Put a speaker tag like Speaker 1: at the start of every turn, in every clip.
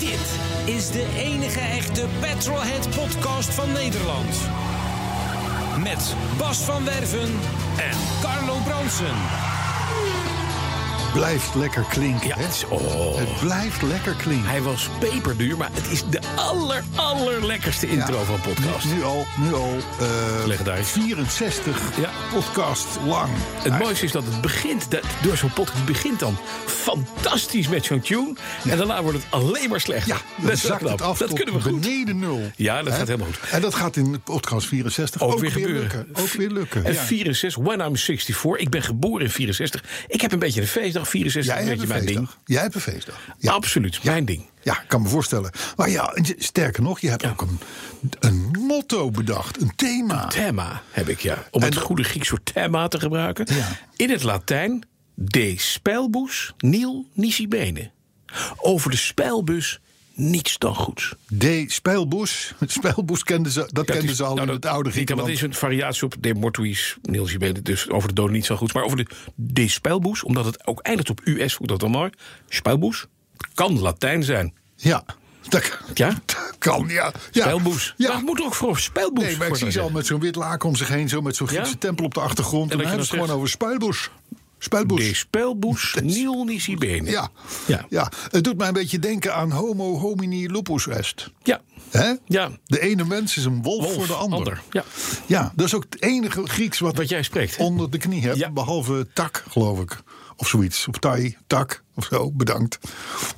Speaker 1: Dit is de enige echte Petrolhead podcast van Nederland. Met Bas van Werven en Carlo Bronsen.
Speaker 2: blijft lekker klinken.
Speaker 3: Ja,
Speaker 2: hè?
Speaker 3: het is- oh.
Speaker 2: Het blijft lekker klinken.
Speaker 3: Hij was peperduur, maar het is de aller, allerlekkerste intro
Speaker 2: Ja.
Speaker 3: van podcast.
Speaker 2: Nu, nu al, nu al eh,
Speaker 3: Legendarisch.
Speaker 2: 64
Speaker 3: Ja.
Speaker 2: podcast lang.
Speaker 3: Het mooiste is dat het begint, dat, door zo'n podcast begint dan fantastisch met zo'n tune. En daarna wordt het alleen maar slechter.
Speaker 2: Ja,
Speaker 3: Dat
Speaker 2: dan
Speaker 3: is wel
Speaker 2: zakt het
Speaker 3: knap.
Speaker 2: af
Speaker 3: Dat
Speaker 2: tot
Speaker 3: kunnen we goed.
Speaker 2: beneden nul.
Speaker 3: Ja, dat
Speaker 2: Hè?
Speaker 3: gaat helemaal goed.
Speaker 2: En dat gaat in podcast 64
Speaker 3: Ook, weer gebeuren.
Speaker 2: lukken. Ook weer lukken.
Speaker 3: En
Speaker 2: Ja.
Speaker 3: 64, when I'm 64. Ik ben geboren in 64. Ik heb een beetje een feestdag. 64
Speaker 2: Jij
Speaker 3: is een
Speaker 2: hebt
Speaker 3: beetje
Speaker 2: een
Speaker 3: mijn ding.
Speaker 2: feestdag. Jij hebt een feestdag. Ja.
Speaker 3: Absoluut, mijn ding.
Speaker 2: Ja, ik kan me voorstellen. Maar ja, sterker nog, je hebt ook een, een motto bedacht. Een thema.
Speaker 3: Thema heb ik, ja. Om het
Speaker 2: En-
Speaker 3: goede Grieks woord thema te gebruiken.
Speaker 2: Ja.
Speaker 3: In het Latijn, de spelbus nil nisi bene. Over de spelbus niets dan goeds.
Speaker 2: De Spijlboes. Spijlboes kenden ze, dat
Speaker 3: Ja,
Speaker 2: kenden
Speaker 3: is-
Speaker 2: ze dus al
Speaker 3: nou,
Speaker 2: in
Speaker 3: dat-
Speaker 2: het oude
Speaker 3: niet, want
Speaker 2: Griekenland.
Speaker 3: Het is een variatie op de mortuis, Niels, je weet het, dus over de doden niet zo goed. Maar over de, de spelboes, omdat het ook eindigt op US, vond ik dat dan mooi. Spelboes kan Latijn zijn.
Speaker 2: Ja. Dat,
Speaker 3: Ja?
Speaker 2: dat kan, ja. ja.
Speaker 3: Spelboes.
Speaker 2: Ja.
Speaker 3: Dat moet ook voor spelboes
Speaker 2: Nee, maar ik zie ze al met zo'n wit laken om zich heen, zo met zo'n Griekse
Speaker 3: Ja?
Speaker 2: tempel op de achtergrond. En,
Speaker 3: En dat
Speaker 2: dan
Speaker 3: je
Speaker 2: hebben ze
Speaker 3: dan
Speaker 2: het gewoon over spuilboes. Spuilboes.
Speaker 3: De spelboes nil nisi bene.
Speaker 2: Ja.
Speaker 3: Ja.
Speaker 2: Ja. het doet mij een beetje denken aan homo homini lupus est.
Speaker 3: Ja.
Speaker 2: Hè?
Speaker 3: Ja.
Speaker 2: De ene mens is een wolf,
Speaker 3: Wolf,
Speaker 2: voor de ander.
Speaker 3: ander, ja.
Speaker 2: ja, dat is ook het enige Grieks wat,
Speaker 3: Wat jij spreekt, hè?
Speaker 2: onder de knie hebt.
Speaker 3: Ja.
Speaker 2: Behalve tak, geloof ik. Of zoiets. Of tai, tak, of zo. Bedankt.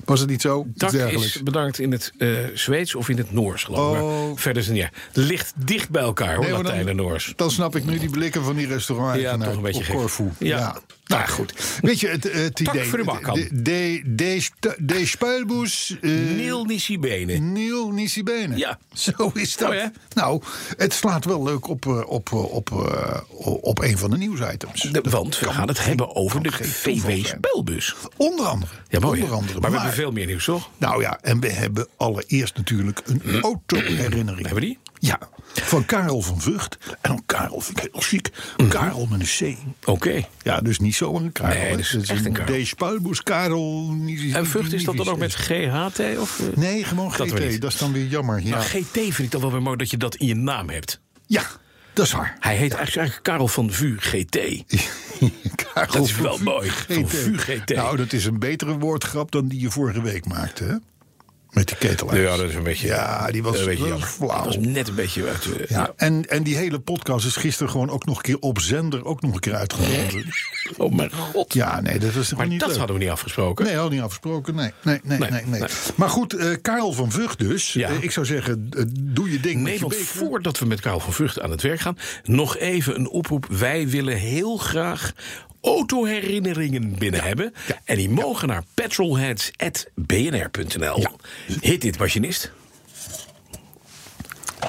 Speaker 2: Was het niet zo?
Speaker 3: Tak
Speaker 2: Iets dergelijks.
Speaker 3: is bedankt in het eh, Zweeds of in het Noors, geloof ik.
Speaker 2: Oh.
Speaker 3: Maar Verder is het niet. erg. Ligt dicht bij elkaar, hoor,
Speaker 2: Nee, maar dan-
Speaker 3: Latijn en Noors.
Speaker 2: Dan snap ik nu die blikken van die restaurant
Speaker 3: Ja, toch een beetje
Speaker 2: op
Speaker 3: gek.
Speaker 2: Corfu.
Speaker 3: Ja.
Speaker 2: Nou goed. Weet je, het, het
Speaker 3: Tak
Speaker 2: idee.
Speaker 3: voor de bak, Han.
Speaker 2: de, de, de, stu- de spuilboes. eh,
Speaker 3: Nil nisi bene.
Speaker 2: Neil Nisibene.
Speaker 3: Ja.
Speaker 2: Zo is dat.
Speaker 3: Mooi, hè?
Speaker 2: nou, het slaat wel leuk op, eh, op, eh, op, eh, op een van de nieuwsitems.
Speaker 3: De- want we gaan het hebben over de VW-spelbus.
Speaker 2: Onder andere.
Speaker 3: Ja, mooi. hè?
Speaker 2: onder andere.
Speaker 3: Maar we hebben veel meer nieuws, toch?
Speaker 2: Nou ja, en we hebben allereerst natuurlijk een autoherinnering.
Speaker 3: Mm. Hebben we die?
Speaker 2: Ja, van Karel van Vught. En dan Karel vind ik heel chic.
Speaker 3: Mhm.
Speaker 2: Karel met een C.
Speaker 3: Oké.
Speaker 2: Ja, dus niet zomaar een Karel.
Speaker 3: Nee,
Speaker 2: hè.
Speaker 3: dat is echt een Karel.
Speaker 2: De Spuilboes Karel. niet-
Speaker 3: En Vught is dat dan ook met
Speaker 2: niet-
Speaker 3: GHT? Of, eh?
Speaker 2: Nee, gewoon
Speaker 3: Dat weer
Speaker 2: GT.
Speaker 3: niet.
Speaker 2: Dat is dan weer jammer. Ja,
Speaker 3: Nou, GT vind ik dan wel weer mooi dat je dat in je naam hebt.
Speaker 2: ja dat is waar.
Speaker 3: Hij heet eigenlijk, eigenlijk Karel van VU GT.
Speaker 2: Karel
Speaker 3: Dat is
Speaker 2: van
Speaker 3: wel
Speaker 2: Vught
Speaker 3: mooi. Van VUGT.
Speaker 2: Nou, dat is een betere woordgrap dan die je vorige week maakte, hè? Met die ketelaars.
Speaker 3: Ja, dat is een beetje-
Speaker 2: Ja, die was,
Speaker 3: een beetje
Speaker 2: dat was
Speaker 3: jammer.
Speaker 2: flauw.
Speaker 3: Dat was net een beetje uit. eh,
Speaker 2: Ja, en, en die hele podcast is gisteren gewoon ook nog een keer op zender ook nog een keer uitgezonden.
Speaker 3: Oh mijn god.
Speaker 2: Ja, nee, dat is gewoon
Speaker 3: maar
Speaker 2: niet
Speaker 3: dat
Speaker 2: leuk.
Speaker 3: hadden we niet afgesproken.
Speaker 2: Nee, al niet afgesproken. Nee, nee, nee,
Speaker 3: Nee,
Speaker 2: nee. nee,
Speaker 3: nee.
Speaker 2: Maar goed, eh, Karel van Vught dus.
Speaker 3: Ja.
Speaker 2: Eh, ik zou zeggen, eh, doe je ding
Speaker 3: Nee,
Speaker 2: met je
Speaker 3: want
Speaker 2: beker.
Speaker 3: voordat we met Karel van Vught aan het werk gaan, nog even een oproep. Wij willen heel graag autoherinneringen binnen hebben. En die mogen naar petrolheads.bnr.nl. Hit dit, machinist.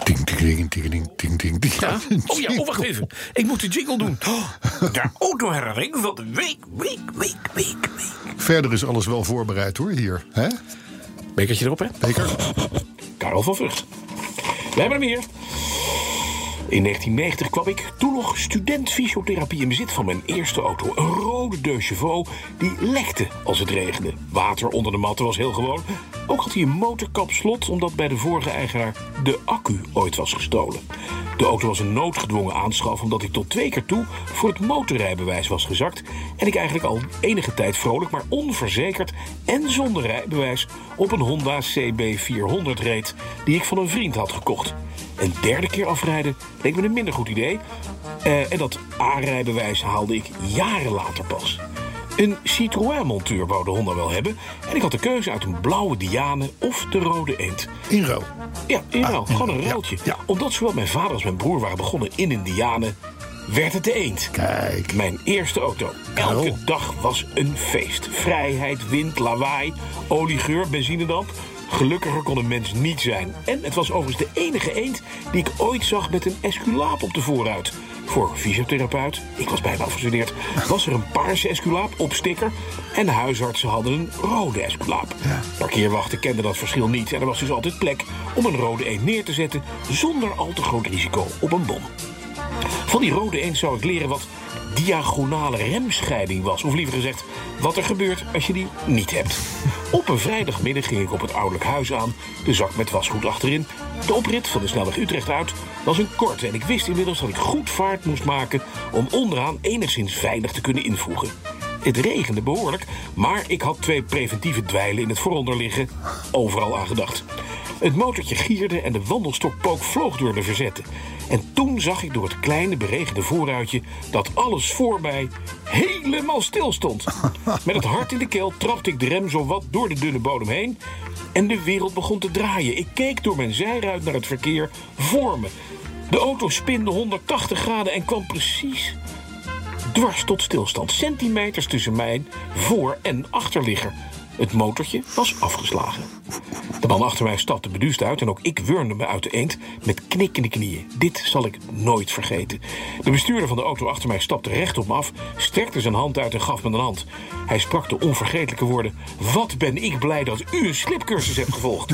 Speaker 2: Ting, ting, ting, ting, ting, ting, ting, ting.
Speaker 3: Ja. Oh ja, oh, wacht even. Ik moet de jingle doen. Oh, de autoherinnering van de week, week, week, week, week.
Speaker 2: Verder is alles wel voorbereid hoor, hier. hè?
Speaker 3: Bekertje erop, hè?
Speaker 2: Beker?
Speaker 3: Oh. Karel van Vught. We hebben hem hier. In 1990 kwam ik, toen nog student fysiotherapie, in bezit van mijn eerste auto. Een rode De Chauveau die lekte als het regende. Water onder de matten was heel gewoon. Ook had hij een motorkapslot, omdat bij de vorige eigenaar de accu ooit was gestolen. De auto was een noodgedwongen aanschaf, omdat ik tot twee keer toe voor het motorrijbewijs was gezakt. En ik eigenlijk al enige tijd vrolijk, maar onverzekerd en zonder rijbewijs op een Honda CB400 reed, die ik van een vriend had gekocht. Een derde keer afrijden leek me een minder goed idee. Eh, en dat aanrijbewijs haalde ik jaren later pas. Een Citroën-montuur wou de Honda wel hebben. En ik had de keuze uit een blauwe Diane of de rode eend.
Speaker 2: Inro.
Speaker 3: Ja, in ruil.
Speaker 2: in
Speaker 3: gewoon een
Speaker 2: ruil, Ah, ja,
Speaker 3: ruiltje.
Speaker 2: ja.
Speaker 3: Omdat zowel mijn vader als mijn broer waren begonnen in Indianen... werd het de eend.
Speaker 2: Kijk.
Speaker 3: Mijn eerste auto. Elke
Speaker 2: Karel.
Speaker 3: dag was een feest. Vrijheid, wind, lawaai, oliegeur, benzinedamp. Gelukkiger kon een mens niet zijn. En het was overigens de enige eend die ik ooit zag met een esculaap op de voorruit. Voor fysiotherapeut, ik was bijna afgestudeerd, was er een paarse esculaap op sticker. En de huisartsen hadden een rode esculaap.
Speaker 2: Ja.
Speaker 3: Parkeerwachten kenden dat verschil niet. En er was dus altijd plek om een rode eend neer te zetten zonder al te groot risico op een bom. Van die rode eend zou ik leren wat diagonale remscheiding was. Of liever gezegd, wat er gebeurt als je die niet hebt. Op een vrijdagmiddag ging ik op het ouderlijk huis aan. De zak met wasgoed achterin. De oprit van de snelweg Utrecht uit was een korte. En ik wist inmiddels dat ik goed vaart moest maken... om onderaan enigszins veilig te kunnen invoegen. Het regende behoorlijk, maar ik had twee preventieve dweilen in het vooronder liggen. Overal aan gedacht. Het motortje gierde en de wandelstokpook vloog door de verzetten. En toen zag ik door het kleine beregende voorruitje dat alles voor mij helemaal stil stond. Met het hart in de keel trapte ik de rem zowat door de dunne bodem heen en de wereld begon te draaien. Ik keek door mijn zijruit naar het verkeer voor me. De auto spinde 180 graden en kwam precies dwars tot stilstand. Centimeters tussen mijn voor- en achterligger. Het motortje was afgeslagen. De man achter mij stapte beduusd uit en ook ik wurmde me uit de eend met knikkende knieën. Dit zal ik nooit vergeten. De bestuurder van de auto achter mij stapte recht op me af, strekte zijn hand uit en gaf me een hand. Hij sprak de onvergetelijke woorden: Wat ben ik blij dat u een slipcursus hebt gevolgd?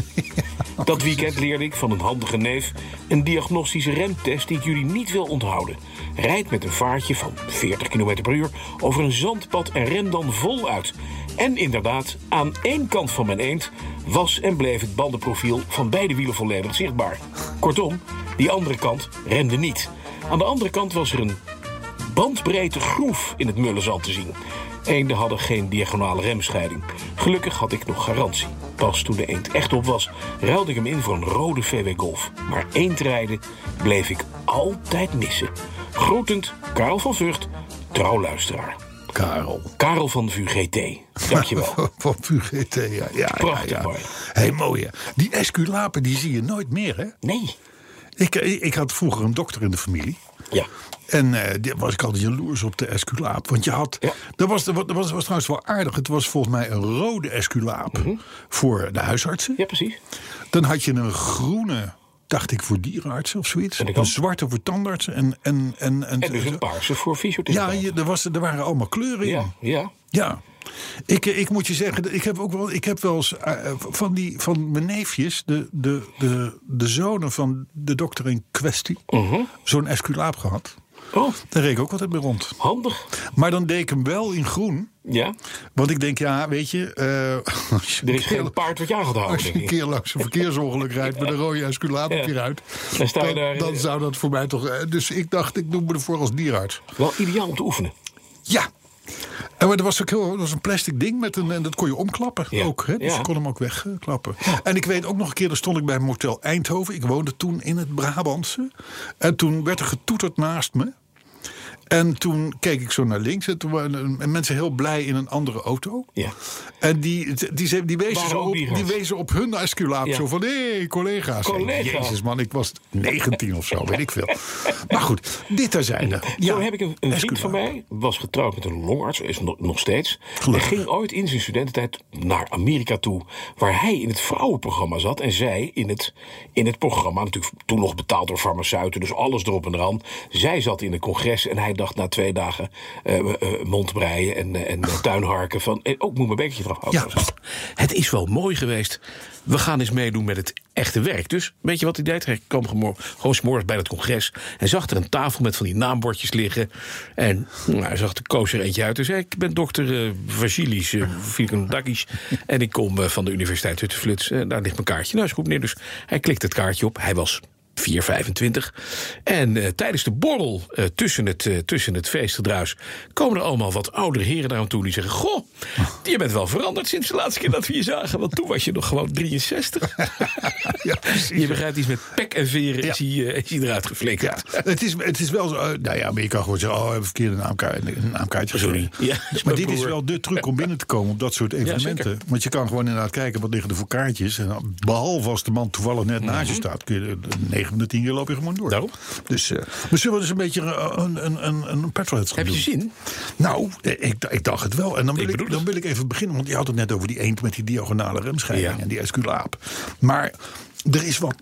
Speaker 3: Dat weekend leerde ik van een handige neef een diagnostische remtest die ik jullie niet wil onthouden. Rijd met een vaartje van 40 km per uur over een zandpad en rem dan voluit. En inderdaad, aan één kant van mijn eend was en bleef het bandenprofiel van beide wielen volledig zichtbaar. Kortom, die andere kant remde niet. Aan de andere kant was er een bandbreedte groef in het mullenzand te zien. Eenden hadden geen diagonale remscheiding. Gelukkig had ik nog garantie. Pas toen de eend echt op was, ruilde ik hem in voor een rode VW Golf. Maar eendrijden bleef ik altijd missen. Groetend, Karel van Vught, trouwluisteraar.
Speaker 2: Karel.
Speaker 3: Karel van VUGT, dankjewel.
Speaker 2: Van VGT, ja. ja, ja,
Speaker 3: Prachtig
Speaker 2: ja.
Speaker 3: mooi.
Speaker 2: Hé, mooi hè. Die esculapen die zie je nooit meer hè.
Speaker 3: Nee.
Speaker 2: Ik, eh, ik had vroeger een dokter in de familie.
Speaker 3: Ja.
Speaker 2: En eh, daar was ik altijd jaloers op de esculaap. Want je had.
Speaker 3: Ja.
Speaker 2: Dat, was, dat, was, dat was trouwens wel aardig. Het was volgens mij een rode esculaap
Speaker 3: Mhm.
Speaker 2: voor de huisartsen.
Speaker 3: ja, precies.
Speaker 2: Dan had je een groene, dacht ik, voor dierenartsen of zoiets.
Speaker 3: En ik
Speaker 2: Een
Speaker 3: ook.
Speaker 2: zwarte voor tandartsen. En, en, en, en,
Speaker 3: En dus een paarse voor
Speaker 2: Ja,
Speaker 3: fysiotherapeut.
Speaker 2: je, er, was, er waren allemaal kleuren in.
Speaker 3: ja, ja.
Speaker 2: Ja. Ik, ik moet je zeggen, ik heb ook wel, ik heb wel eens eh, van, die, van mijn neefjes, de, de, de, de zonen van de dokter in kwestie,
Speaker 3: Mhm.
Speaker 2: zo'n esculaap gehad.
Speaker 3: Oh,
Speaker 2: Daar reed ik ook altijd mee rond.
Speaker 3: handig.
Speaker 2: Maar dan deed ik hem wel in groen.
Speaker 3: Ja.
Speaker 2: Want ik denk, ja, weet je, eh, als je
Speaker 3: Er
Speaker 2: een
Speaker 3: is geen
Speaker 2: keer,
Speaker 3: paard wat je aan gaat
Speaker 2: als
Speaker 3: houden,
Speaker 2: je
Speaker 3: denk
Speaker 2: een
Speaker 3: ik.
Speaker 2: keer langs een verkeersongeluk rijdt met een rode esculaap op je
Speaker 3: Ja.
Speaker 2: ruit,
Speaker 3: Dan sta je
Speaker 2: dan,
Speaker 3: daar-
Speaker 2: dan zou dat voor mij toch. eh, Dus ik dacht, ik noem me ervoor als dierarts.
Speaker 3: Wel ideaal om te oefenen.
Speaker 2: Ja. En maar er was ook heel, er was een plastic ding met een, en dat kon je omklappen
Speaker 3: Ja.
Speaker 2: ook. Hè? Dus
Speaker 3: Ja.
Speaker 2: je kon hem ook wegklappen. En ik weet ook nog een keer, daar stond ik bij Motel Eindhoven. Ik woonde toen in het Brabantse. En toen werd er getoeterd naast me. En toen keek ik zo naar links. En toen waren eh, mensen heel blij in een andere auto.
Speaker 3: Ja.
Speaker 2: En die, die, die, die, wezen,
Speaker 3: Waren
Speaker 2: zo
Speaker 3: ook
Speaker 2: op,
Speaker 3: dierarts.
Speaker 2: die wezen op hun esculaap
Speaker 3: Ja.
Speaker 2: zo van... Hé, hey, collega's.
Speaker 3: Collega.
Speaker 2: Jezus man, ik was 19 of zo, weet ik veel. Maar goed, dit terzijde.
Speaker 3: Zo heb ik een, een vriend van
Speaker 2: esculaap.
Speaker 3: mij, was getrouwd met een longarts, is nog, nog steeds.
Speaker 2: Gelukkig.
Speaker 3: En ging ooit in zijn studententijd naar Amerika toe, waar hij in het vrouwenprogramma zat. En zij in het, in het programma, natuurlijk toen nog betaald door farmaceuten, dus alles erop en eraan. Zij zat in een congres en hij dacht na twee dagen eh, eh, mondbreien en, eh, en eh, tuinharken van, eh, oh, ik moet mijn bekertje eraf houden.
Speaker 2: Ja.
Speaker 4: Het is wel mooi geweest. We gaan eens meedoen met het echte werk. Dus weet je wat hij deed? Hij kwam gewoon gewoon 's morgens bij dat congres. En zag er een tafel met van die naambordjes liggen. En nou, hij zag de koos er eentje uit. En zei: Ik ben dokter eh Vasilis eh, Vikantakis. En ik kom eh, van de Universiteit Huttenfluts. Eh, daar ligt mijn kaartje. Nou, is goed, meneer. Dus hij klikt het kaartje op. Hij was 4,25. En eh, tijdens de borrel eh, tussen, het, eh, tussen het feestgedruis komen er allemaal wat oudere heren naar hem toe die zeggen: Goh, je bent wel veranderd sinds de laatste keer dat we je zagen, want toen was je nog gewoon 63.
Speaker 2: Ja, precies.
Speaker 4: je begrijpt iets met pek en veren is, hij, eh, is hij eruit
Speaker 2: Ja,
Speaker 4: geflikkerd.
Speaker 2: het is, het is wel zo. eh, nou ja, maar je kan gewoon zeggen: oh, we hebben verkeerde naamkaart, een naamkaartje.
Speaker 4: Sorry.
Speaker 2: gegeven.
Speaker 4: Ja, dat is
Speaker 2: maar
Speaker 4: mijn
Speaker 2: dit is
Speaker 4: broer.
Speaker 2: wel de truc om binnen te komen op dat soort evenementen.
Speaker 4: zeker.
Speaker 2: Want je kan gewoon inderdaad kijken wat liggen er voor kaartjes. En dan, behalve als de man toevallig net naast je staat, kun je eh, 9 van de 10 keer loop je gewoon door.
Speaker 3: Mhm. Daarom.
Speaker 2: Dus eh, we zullen dus een beetje eh, een, een, een, een petrolhead gaan
Speaker 3: Heb je
Speaker 2: doen.
Speaker 3: zin?
Speaker 2: Nou, eh, ik, ik dacht het wel. En dan wil
Speaker 3: Ik
Speaker 2: ik,
Speaker 3: bedoel het.
Speaker 2: dan wil ik even beginnen. Want je had het net over die eend met die diagonale remscheiding
Speaker 3: Ja.
Speaker 2: en die esculaap. Maar er is wat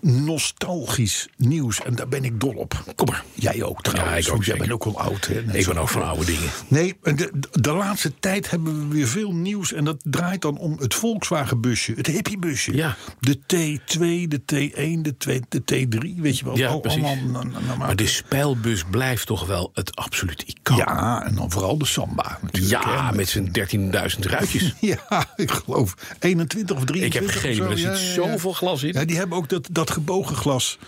Speaker 2: nostalgisch nieuws. En daar ben ik dol op.
Speaker 3: Kom maar.
Speaker 2: Jij ook trouwens.
Speaker 3: Ja, ik ook,
Speaker 2: want jij
Speaker 3: zeker.
Speaker 2: bent ook al oud. Hè? Net
Speaker 3: Ik
Speaker 2: zo.
Speaker 3: ben ook van oude dingen.
Speaker 2: Nee, de, de laatste tijd hebben we weer veel nieuws. En dat draait dan om het Volkswagenbusje. Het hippiebusje.
Speaker 3: Ja.
Speaker 2: De T2, de T1, de, 2, de T3. Weet je wel.
Speaker 3: Ja,
Speaker 2: Al-
Speaker 3: precies.
Speaker 2: allemaal na- na- na-
Speaker 3: Maar de spijlbus blijft toch wel het absoluut icoon.
Speaker 2: Ja, en dan vooral de Samba natuurlijk. hè,
Speaker 3: Ja, met zijn 13.000 ruitjes.
Speaker 2: Ja, ik geloof 21 of 23.
Speaker 3: Ik heb
Speaker 2: of
Speaker 3: geen idee,
Speaker 2: zo.
Speaker 3: maar er
Speaker 2: Ja,
Speaker 3: zit
Speaker 2: ja, ja.
Speaker 3: zoveel glas in.
Speaker 2: Ja, die hebben ook dat, dat gebogen glas.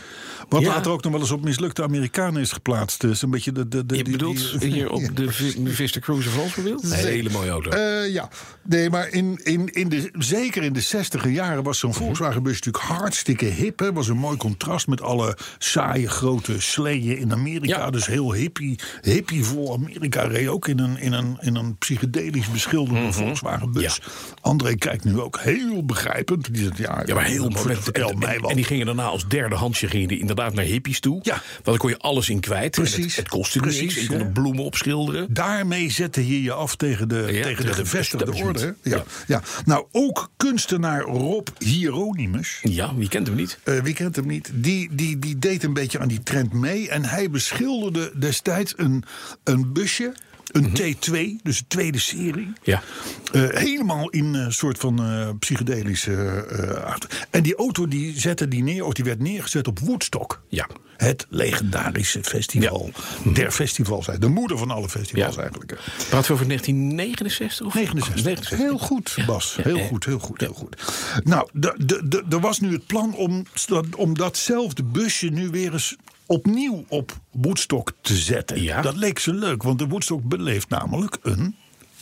Speaker 2: Wat
Speaker 3: Ja.
Speaker 2: later ook nog wel eens op mislukte Amerikanen is geplaatst. Dus een beetje de. de, de
Speaker 3: Je
Speaker 2: die-
Speaker 3: bedoelt
Speaker 2: die-
Speaker 3: hier op de Vi- Vista Cruiser Frans bedoeld? Een hele mooie auto.
Speaker 2: Eh, ja, nee, maar in, in, in de, zeker in de 60 jaren was
Speaker 3: Mhm.
Speaker 2: zo'n Volkswagenbus natuurlijk hartstikke hip. hè. was een mooi contrast met alle saaie grote sleeën in Amerika.
Speaker 3: Ja.
Speaker 2: Dus heel hippie, hippievol. Amerika reed ook in een, in een, in een psychedelisch beschilderde
Speaker 3: Mhm.
Speaker 2: Volkswagenbus. André kijkt nu ook heel begrijpend. Die zegt, ja,
Speaker 3: Ja, maar heel mooi.
Speaker 2: mooi.
Speaker 3: Met-
Speaker 2: Vertel
Speaker 3: en,
Speaker 2: mij
Speaker 3: en-
Speaker 2: wat.
Speaker 3: en die gingen daarna als derde handje gingen die inderdaad naar hippies toe.
Speaker 2: Ja.
Speaker 3: Want dan kon je alles in kwijt. En het-
Speaker 2: Precies.
Speaker 3: Het, kostte
Speaker 2: Precies,
Speaker 3: niks. En je kon
Speaker 2: ja.
Speaker 3: de bloemen opschilderen.
Speaker 2: Daarmee zette je je af tegen de, tegen
Speaker 3: tegen
Speaker 2: de
Speaker 3: de
Speaker 2: gevestigde
Speaker 3: establishment.
Speaker 2: orde. hè. Ja,
Speaker 3: Ja.
Speaker 2: ja. Nou, ook kunstenaar Rob Hieronymus.
Speaker 3: Ja, wie kent hem niet?
Speaker 2: eh wie kent hem niet, die, die, die deed een beetje aan die trend mee. En hij beschilderde destijds een, een busje, een T2, dus de tweede serie.
Speaker 3: Mhm. Ja.
Speaker 2: Eh, helemaal in een soort van eh, psychedelische eh, aard. En die auto die zette die neer, of die werd neergezet op Woodstock.
Speaker 3: Ja. Mhm.
Speaker 2: Het legendarische festival. Der festivals, de moeder van alle festivals
Speaker 3: Ja.
Speaker 2: eigenlijk.
Speaker 3: Praten we over 1969 of
Speaker 2: 69.
Speaker 3: 69.
Speaker 2: Heel goed, Bas.
Speaker 3: Ja,
Speaker 2: Heel
Speaker 3: eh.
Speaker 2: goed, heel goed, heel goed. Nou, de- de- de- er was nu het plan om, dat- om datzelfde busje nu weer eens opnieuw op Woodstock te zetten.
Speaker 3: Ja.
Speaker 2: Dat leek ze leuk, want de Woodstock beleeft namelijk een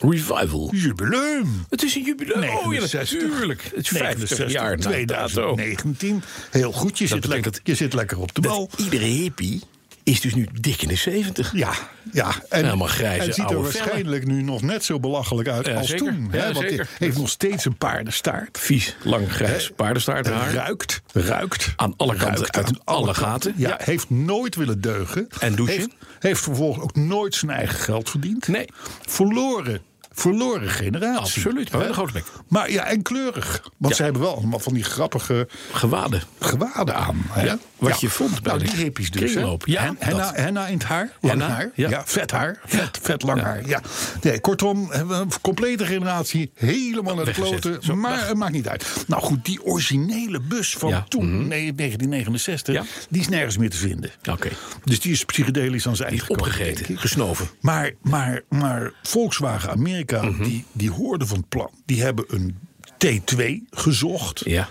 Speaker 3: Revival.
Speaker 2: jubileum.
Speaker 3: Het is een jubileum. Oh ja,
Speaker 2: 69.
Speaker 3: natuurlijk. Het is 50
Speaker 2: 69,
Speaker 3: jaar na dato.
Speaker 2: 2019. Heel goed, je, zit
Speaker 3: betekent
Speaker 2: lekker,
Speaker 3: dat-
Speaker 2: je zit lekker op de bal.
Speaker 3: Dat iedere hippie is dus nu dik in de 70.
Speaker 2: Ja, ja. En,
Speaker 3: Helemaal grijze
Speaker 2: en ziet er
Speaker 3: oude
Speaker 2: waarschijnlijk nu nog net zo belachelijk uit
Speaker 3: Ja,
Speaker 2: als
Speaker 3: zeker.
Speaker 2: toen. hè,
Speaker 3: Ja,
Speaker 2: want
Speaker 3: zeker.
Speaker 2: hij heeft nog steeds een paardenstaart.
Speaker 3: Vies, lang, grijs, paardenstaarthaar.
Speaker 2: Ruikt. Ruikt.
Speaker 3: Aan alle kanten,
Speaker 2: Ruikt
Speaker 3: uit
Speaker 2: aan
Speaker 3: alle
Speaker 2: kanten.
Speaker 3: gaten.
Speaker 2: Ja,
Speaker 3: Ja.
Speaker 2: heeft nooit willen deugen.
Speaker 3: En douchen.
Speaker 2: Heeft, heeft vervolgens ook nooit zijn eigen geld verdiend.
Speaker 3: Nee.
Speaker 2: Verloren. Verloren generatie.
Speaker 3: Absoluut, maar wel
Speaker 2: Hè?
Speaker 3: een grote bek.
Speaker 2: Maar ja, en kleurig. Want
Speaker 3: Ja.
Speaker 2: ze hebben wel allemaal van die grappige
Speaker 3: Gewaden.
Speaker 2: gewaden aan. Hè?
Speaker 3: Ja, wat je vond bij
Speaker 2: nou,
Speaker 3: de
Speaker 2: die hippies dus. hè?
Speaker 3: kringloop. Ja,
Speaker 2: Hen- henna,
Speaker 3: dat.
Speaker 2: henna in het haar. Lang
Speaker 3: Henna,
Speaker 2: haar. Ja.
Speaker 3: ja.
Speaker 2: vet haar. Vet, vet lang haar. Ja. Nee, kortom, hebben we een complete generatie helemaal naar de
Speaker 3: Weggezet.
Speaker 2: kloten.
Speaker 3: Zo,
Speaker 2: maar
Speaker 3: weg.
Speaker 2: het maakt niet uit. Nou goed, die originele bus van
Speaker 3: Ja. mhm.
Speaker 2: toen, nee, 1969,
Speaker 3: Ja.
Speaker 2: die is nergens meer te vinden.
Speaker 3: Oké.
Speaker 2: Dus die is psychedelisch aan zijn eind gekomen, denk ik.
Speaker 3: Opgegeten, gesnoven.
Speaker 2: Maar, maar, maar Volkswagen Amerika,
Speaker 3: Mhm.
Speaker 2: die, die hoorden van het plan. Die hebben een T2 gezocht.
Speaker 3: Ja.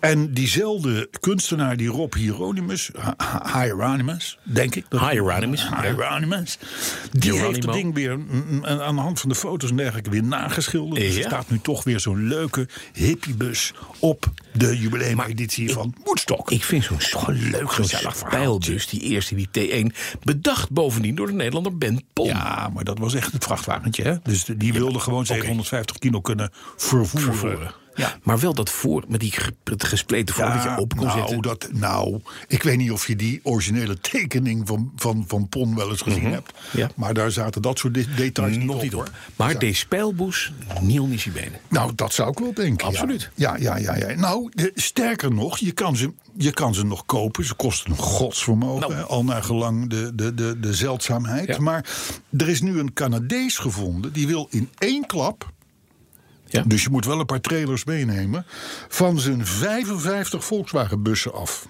Speaker 2: En diezelfde kunstenaar, die Rob Hieronymus, Ha- Ha- Hieronymus, denk ik. dat-
Speaker 3: Hieronymus, ja.
Speaker 2: Hieronymus. Die
Speaker 3: Hieronimo.
Speaker 2: heeft het ding weer mm, mm, aan de hand van de foto's en dergelijke weer nageschilderd. Dus er
Speaker 3: Ja.
Speaker 2: staat nu toch weer zo'n leuke hippiebus op de jubileumeditie van Woodstock.
Speaker 3: Ik vind zo'n
Speaker 2: toch een leuk gezellig verhaal.
Speaker 3: spijlbus, die eerste, die T1, bedacht bovendien door de Nederlander Ben Pom.
Speaker 2: Ja, maar dat was echt het vrachtwagentje. Hè? Dus de- die wilde gewoon 750 kilo kunnen vervoeren.
Speaker 3: Voeren.
Speaker 2: Ja.
Speaker 3: Maar wel dat voor, met die ge- het gespleten voor, dat je open kon
Speaker 2: nou,
Speaker 3: zetten.
Speaker 2: Dat, nou, ik weet niet of je die originele tekening van, van, van Pon wel eens gezien hebt.
Speaker 3: Mhm. Ja.
Speaker 2: Maar daar zaten dat soort de- details
Speaker 3: Nog niet
Speaker 2: hoor.
Speaker 3: hoor. Maar deze spijlbus, Niel Nishibene.
Speaker 2: Nou, dat zou ik wel denken. ja.
Speaker 3: Absoluut.
Speaker 2: Ja, ja, ja. ja, Nou, de- sterker nog, je kan, ze, je kan ze nog kopen. Ze kosten een godsvermogen,
Speaker 3: Nou.
Speaker 2: hè, al naar gelang de, de, de, de zeldzaamheid.
Speaker 3: Ja.
Speaker 2: Maar er is nu een Canadees gevonden, die wil in één klap...
Speaker 3: Ja.
Speaker 2: Dus je moet wel een paar trailers meenemen. Van zijn 55 Volkswagenbussen af.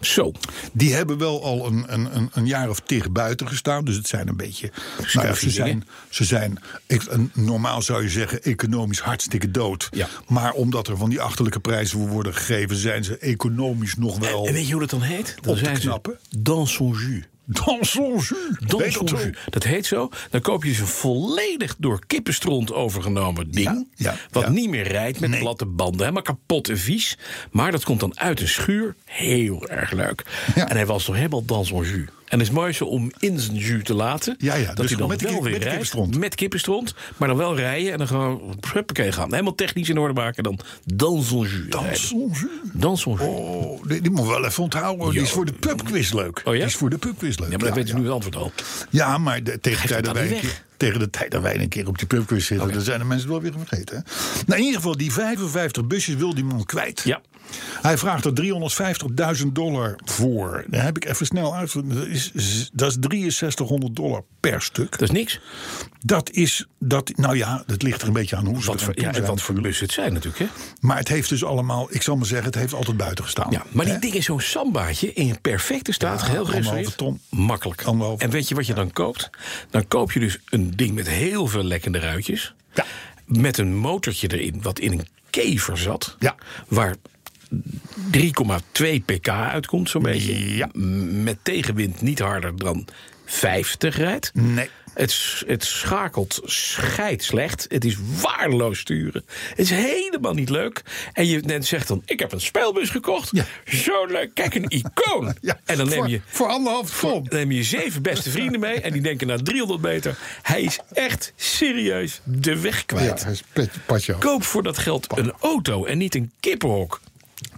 Speaker 3: Zo.
Speaker 2: Die hebben wel al een, een, een, een jaar of tig buiten gestaan. Dus het zijn een beetje. Nou ja, ze
Speaker 3: Schuifje
Speaker 2: zijn.
Speaker 3: dingen.
Speaker 2: Ze zijn ik, een- normaal zou je zeggen economisch hartstikke dood.
Speaker 3: Ja.
Speaker 2: Maar omdat er van die achterlijke prijzen voor worden gegeven, zijn ze economisch nog wel.
Speaker 3: En weet je hoe dat dan heet? Dan
Speaker 2: Oh. Op te
Speaker 3: zijn ze
Speaker 2: knappen.
Speaker 3: dans son jus.
Speaker 2: dans son jus.
Speaker 3: Dans
Speaker 2: Weet dat
Speaker 3: son
Speaker 2: zo?
Speaker 3: jus. Dat heet zo. Dan koop je dus een volledig door kippenstront overgenomen ding.
Speaker 2: ja,
Speaker 3: wat
Speaker 2: ja.
Speaker 3: niet meer rijdt met platte banden. Helemaal kapot en vies. Maar dat komt dan uit een schuur. Heel erg leuk.
Speaker 2: Ja.
Speaker 3: En hij was toch helemaal dans son jus. En het is mooi zo om in zijn jus te laten.
Speaker 2: Ja, ja,
Speaker 3: dat hij dan
Speaker 2: dus gewoon met de
Speaker 3: wel
Speaker 2: kip-
Speaker 3: weer
Speaker 2: met de
Speaker 3: rijdt,
Speaker 2: kippenstront.
Speaker 3: Met kippenstront, maar dan wel rijden en dan gewoon huppakee gaan. Helemaal technisch in orde maken. Dan dans son jus. rijden.
Speaker 2: Soms, hè?
Speaker 3: Dans son jus.
Speaker 2: Oh, die, die moet wel even onthouden. Die is voor de pubquiz leuk.
Speaker 3: Oh ja?
Speaker 2: Die is voor de pubquiz leuk.
Speaker 3: ja, maar dat
Speaker 2: ja,
Speaker 3: weet je
Speaker 2: ja.
Speaker 3: nu het antwoord al.
Speaker 2: Ja, maar de- tegen, de
Speaker 3: Geef
Speaker 2: tijd
Speaker 3: het
Speaker 2: dat
Speaker 3: dan
Speaker 2: wij een
Speaker 3: niet
Speaker 2: keer,
Speaker 3: weg. Oh
Speaker 2: tegen de tijd dat wij een keer op die pubquiz zitten... dan zijn de mensen het wel weer vergeten. hè? Nou, in ieder geval, die 55 busjes wil die man kwijt.
Speaker 3: Ja.
Speaker 2: Hij vraagt er 350.000 dollar voor. Daar heb ik even snel uit. Dat is, dat is 6300 dollar per stuk.
Speaker 3: Dat is niks.
Speaker 2: Dat is, dat, nou ja, dat ligt er een beetje aan hoe ze
Speaker 3: Wat
Speaker 2: er
Speaker 3: voor, ja, en wat voor bus het zijn natuurlijk. Hè?
Speaker 2: Maar het heeft dus allemaal, ik zal maar zeggen, het heeft altijd buiten gestaan.
Speaker 3: Ja, maar die
Speaker 2: Hè?
Speaker 3: ding is zo'n sambaatje in perfecte staat, geheel gerestaureerd.
Speaker 2: anderhalve ton.
Speaker 3: Makkelijk.
Speaker 2: Anderhalve
Speaker 3: En weet je wat je dan koopt? Dan koop je dus een ding met heel veel lekkende ruitjes.
Speaker 2: Ja.
Speaker 3: Met een motortje erin, wat in een kever zat.
Speaker 2: Ja.
Speaker 3: Waar 3,2 pk uitkomt, zo'n beetje.
Speaker 2: Ja.
Speaker 3: M- Met tegenwind niet harder dan 50 rijdt.
Speaker 2: Nee.
Speaker 3: Het, s- het schakelt scheidslecht. Het is waardeloos sturen. Het is helemaal niet leuk. En je net zegt dan, ik heb een speelbus gekocht.
Speaker 2: Ja.
Speaker 3: Zo leuk, kijk, een icoon.
Speaker 2: Ja,
Speaker 3: en dan neem,
Speaker 2: voor,
Speaker 3: je,
Speaker 2: Voor anderhalf ton.
Speaker 3: dan neem je zeven beste vrienden mee. En die denken na 300 meter, hij is echt serieus de weg
Speaker 2: Ja,
Speaker 3: kwijt.
Speaker 2: hij is pet- patje. af.
Speaker 3: Koop voor dat geld een auto en niet een kippenhok.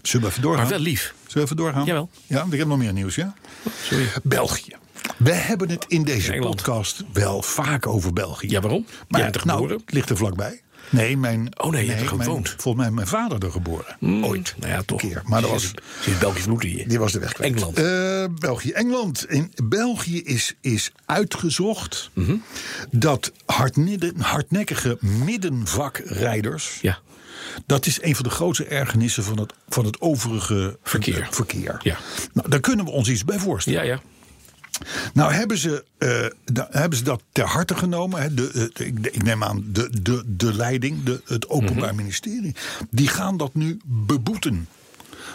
Speaker 2: Zullen we even doorgaan?
Speaker 3: Maar wel lief.
Speaker 2: Zullen we even doorgaan?
Speaker 3: Jawel.
Speaker 2: Ja, want ik heb nog meer nieuws, ja?
Speaker 3: Sorry.
Speaker 2: België. We hebben het in deze
Speaker 3: Engeland.
Speaker 2: podcast wel vaak over België.
Speaker 3: Ja, waarom?
Speaker 2: Maar
Speaker 3: Jij bent er
Speaker 2: nou,
Speaker 3: geboren?
Speaker 2: het ligt er vlakbij. Nee, mijn...
Speaker 3: Oh, nee, je hebt er
Speaker 2: mijn-
Speaker 3: gewoond.
Speaker 2: Volgens mij is mijn vader er geboren. Ooit.
Speaker 3: Nou ja, toch.
Speaker 2: keer. Maar dat was-
Speaker 3: Zit- Zit Belgisch bloed in je.
Speaker 2: Die was de weg kwijt.
Speaker 3: Engeland.
Speaker 2: Eh, België. Engeland. In België is, is uitgezocht
Speaker 3: Mhm.
Speaker 2: dat hardnidde- hardnekkige middenvakrijders...
Speaker 3: Ja.
Speaker 2: Dat is een van de grootste ergernissen van het, van het overige
Speaker 3: Verkeer.
Speaker 2: eh, verkeer.
Speaker 3: Ja.
Speaker 2: Nou, daar kunnen we ons iets bij voorstellen.
Speaker 3: ja, ja.
Speaker 2: Nou, hebben ze, eh, da- hebben ze dat ter harte genomen? Hè? De, eh, de- ik, ik neem aan de, de, de leiding, de, het Openbaar
Speaker 3: Mhm.
Speaker 2: Ministerie. Die gaan dat nu beboeten.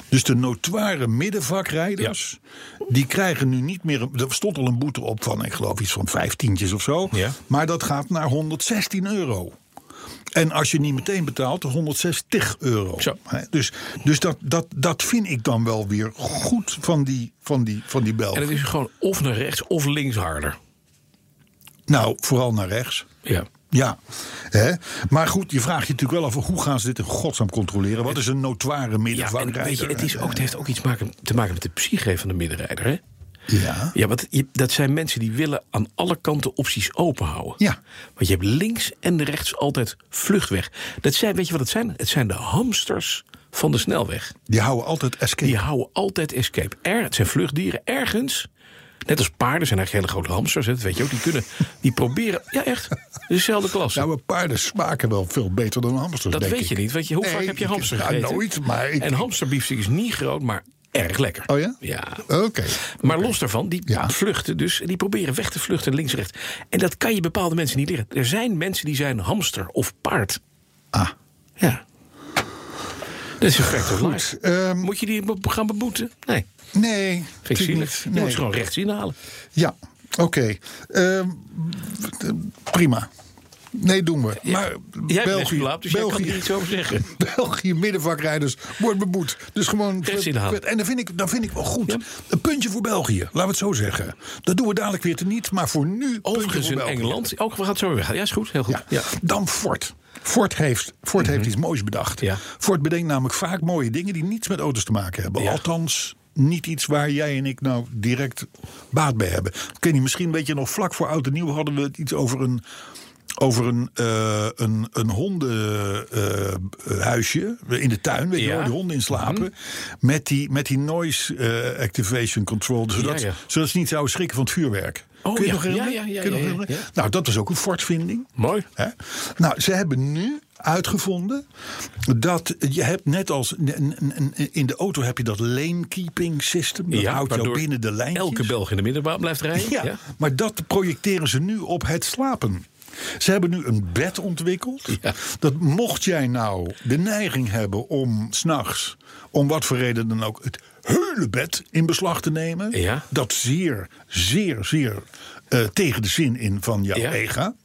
Speaker 2: Dus de notoire middenvakrijders, die krijgen nu niet meer... een- Er stond al een boete op van, ik geloof, iets van vijftientjes of zo.
Speaker 3: Ja.
Speaker 2: Maar dat gaat naar 116 euro. En als je niet meteen betaalt, 160 euro.
Speaker 3: Zo.
Speaker 2: Hè, Dus, dus dat, dat, dat vind ik dan wel weer goed van die, van die, van die Belgen.
Speaker 3: En het is gewoon of naar rechts of links harder.
Speaker 2: Nou, vooral naar rechts.
Speaker 3: Ja.
Speaker 2: Ja, hè? maar goed, je vraagt je natuurlijk wel af hoe gaan ze dit in godsnaam controleren? Wat is een notoire
Speaker 3: Ja, en
Speaker 2: middenvakrijder?
Speaker 3: weet je, het, is ook, het heeft ook iets maken, te maken met de psyche van de middenrijder. Hè?
Speaker 2: Ja,
Speaker 3: Ja, want je- dat zijn mensen die willen aan alle kanten opties openhouden.
Speaker 2: Ja.
Speaker 3: Want je hebt links en rechts altijd vluchtweg. Dat zijn, weet je wat het zijn? Het zijn de hamsters van de snelweg.
Speaker 2: die houden altijd escape.
Speaker 3: Die houden altijd escape. Er, het zijn vluchtdieren ergens. Net als paarden zijn eigenlijk hele grote hamsters. Hè, dat weet je ook. Die kunnen, die proberen. Ja, echt. Dezelfde klasse.
Speaker 2: Nou, maar paarden smaken wel veel beter dan hamsters,
Speaker 3: dat
Speaker 2: denk
Speaker 3: weet je
Speaker 2: ik.
Speaker 3: niet. Weet je, hoe
Speaker 2: Nee,
Speaker 3: vaak heb je
Speaker 2: ik-
Speaker 3: hamster
Speaker 2: ja,
Speaker 3: gegeten?
Speaker 2: nooit, maar ik-
Speaker 3: En hamsterbiefstuk is niet groot, maar erg lekker.
Speaker 2: Oh ja?
Speaker 3: Ja.
Speaker 2: Oké.
Speaker 3: Maar los daarvan, die
Speaker 2: Ja.
Speaker 3: vluchten dus, die proberen weg te vluchten links-rechts. En dat kan je bepaalde mensen niet leren. Er zijn mensen die zijn hamster of paard.
Speaker 2: Ah.
Speaker 3: Ja. Dat is een fact of life.
Speaker 2: ehm,
Speaker 3: Moet je die be- gaan beboeten? Nee,
Speaker 2: Nee,
Speaker 3: vind ik
Speaker 2: natuurlijk
Speaker 3: zielig.
Speaker 2: niet.
Speaker 3: Je moet
Speaker 2: Nee.
Speaker 3: ze gewoon rechts inhalen.
Speaker 2: Ja, oké. Ehm, eh, prima. Nee, doen we. Maar
Speaker 3: Jij bent
Speaker 2: België,
Speaker 3: België, dus jij kan
Speaker 2: België,
Speaker 3: het niet zo zeggen.
Speaker 2: België middenvakrijders wordt beboet. Dus gewoon.
Speaker 3: Rechts inhalen.
Speaker 2: En dat vind, ik, dat vind ik wel goed.
Speaker 3: Ja.
Speaker 2: Een puntje voor België, laten we het zo zeggen. Dat doen we dadelijk weer te niet, maar voor nu. puntje
Speaker 3: Overigens
Speaker 2: voor
Speaker 3: in
Speaker 2: België.
Speaker 3: Engeland. Ook, we gaan het zo weer weggaan. Ja, is goed. Heel goed.
Speaker 2: Ja. Dan Ford. Ford heeft, Ford heeft iets moois bedacht.
Speaker 3: Ja.
Speaker 2: Ford bedenkt namelijk vaak mooie dingen die niets met auto's te maken hebben.
Speaker 3: Ja.
Speaker 2: Althans, niet iets waar jij en ik nou direct baat bij hebben. Ken je misschien, weet je nog, vlak voor oud en nieuw hadden we het iets over een. Over een, eh, een, een hondenhuisje eh, in de tuin, weet je
Speaker 3: Ja. Mhm.
Speaker 2: wel, waar die honden in slapen. Met die, met die noise eh, activation control, dus zodat,
Speaker 3: ja.
Speaker 2: zodat ze niet zouden schrikken van het vuurwerk.
Speaker 3: Oh,
Speaker 2: Kun je
Speaker 3: ja.
Speaker 2: nog herinneren?
Speaker 3: Ja, ja, ja,
Speaker 2: Kun je nog
Speaker 3: ja, ja,
Speaker 2: herinneren?
Speaker 3: ja.
Speaker 2: Nou, dat was ook een Ford-vinding.
Speaker 3: Mooi.
Speaker 2: Hè? Nou, ze hebben nu uitgevonden dat je hebt net als n- n- n- in de auto heb je dat lane keeping system. Dat houdt jou
Speaker 3: waardoor
Speaker 2: binnen de lijntjes.
Speaker 3: Elke Belg in de middenbaan blijft rijden.
Speaker 2: Ja,
Speaker 3: ja.
Speaker 2: maar dat projecteren ze nu op het slapen. Ze hebben nu een bed ontwikkeld.
Speaker 3: Ja.
Speaker 2: Dat mocht jij nou de neiging hebben om s'nachts, om wat voor reden dan ook, het hele bed in beslag te nemen.
Speaker 3: Ja.
Speaker 2: Dat zeer, zeer, zeer eh, tegen de zin in van jouw
Speaker 3: Ja.
Speaker 2: ega.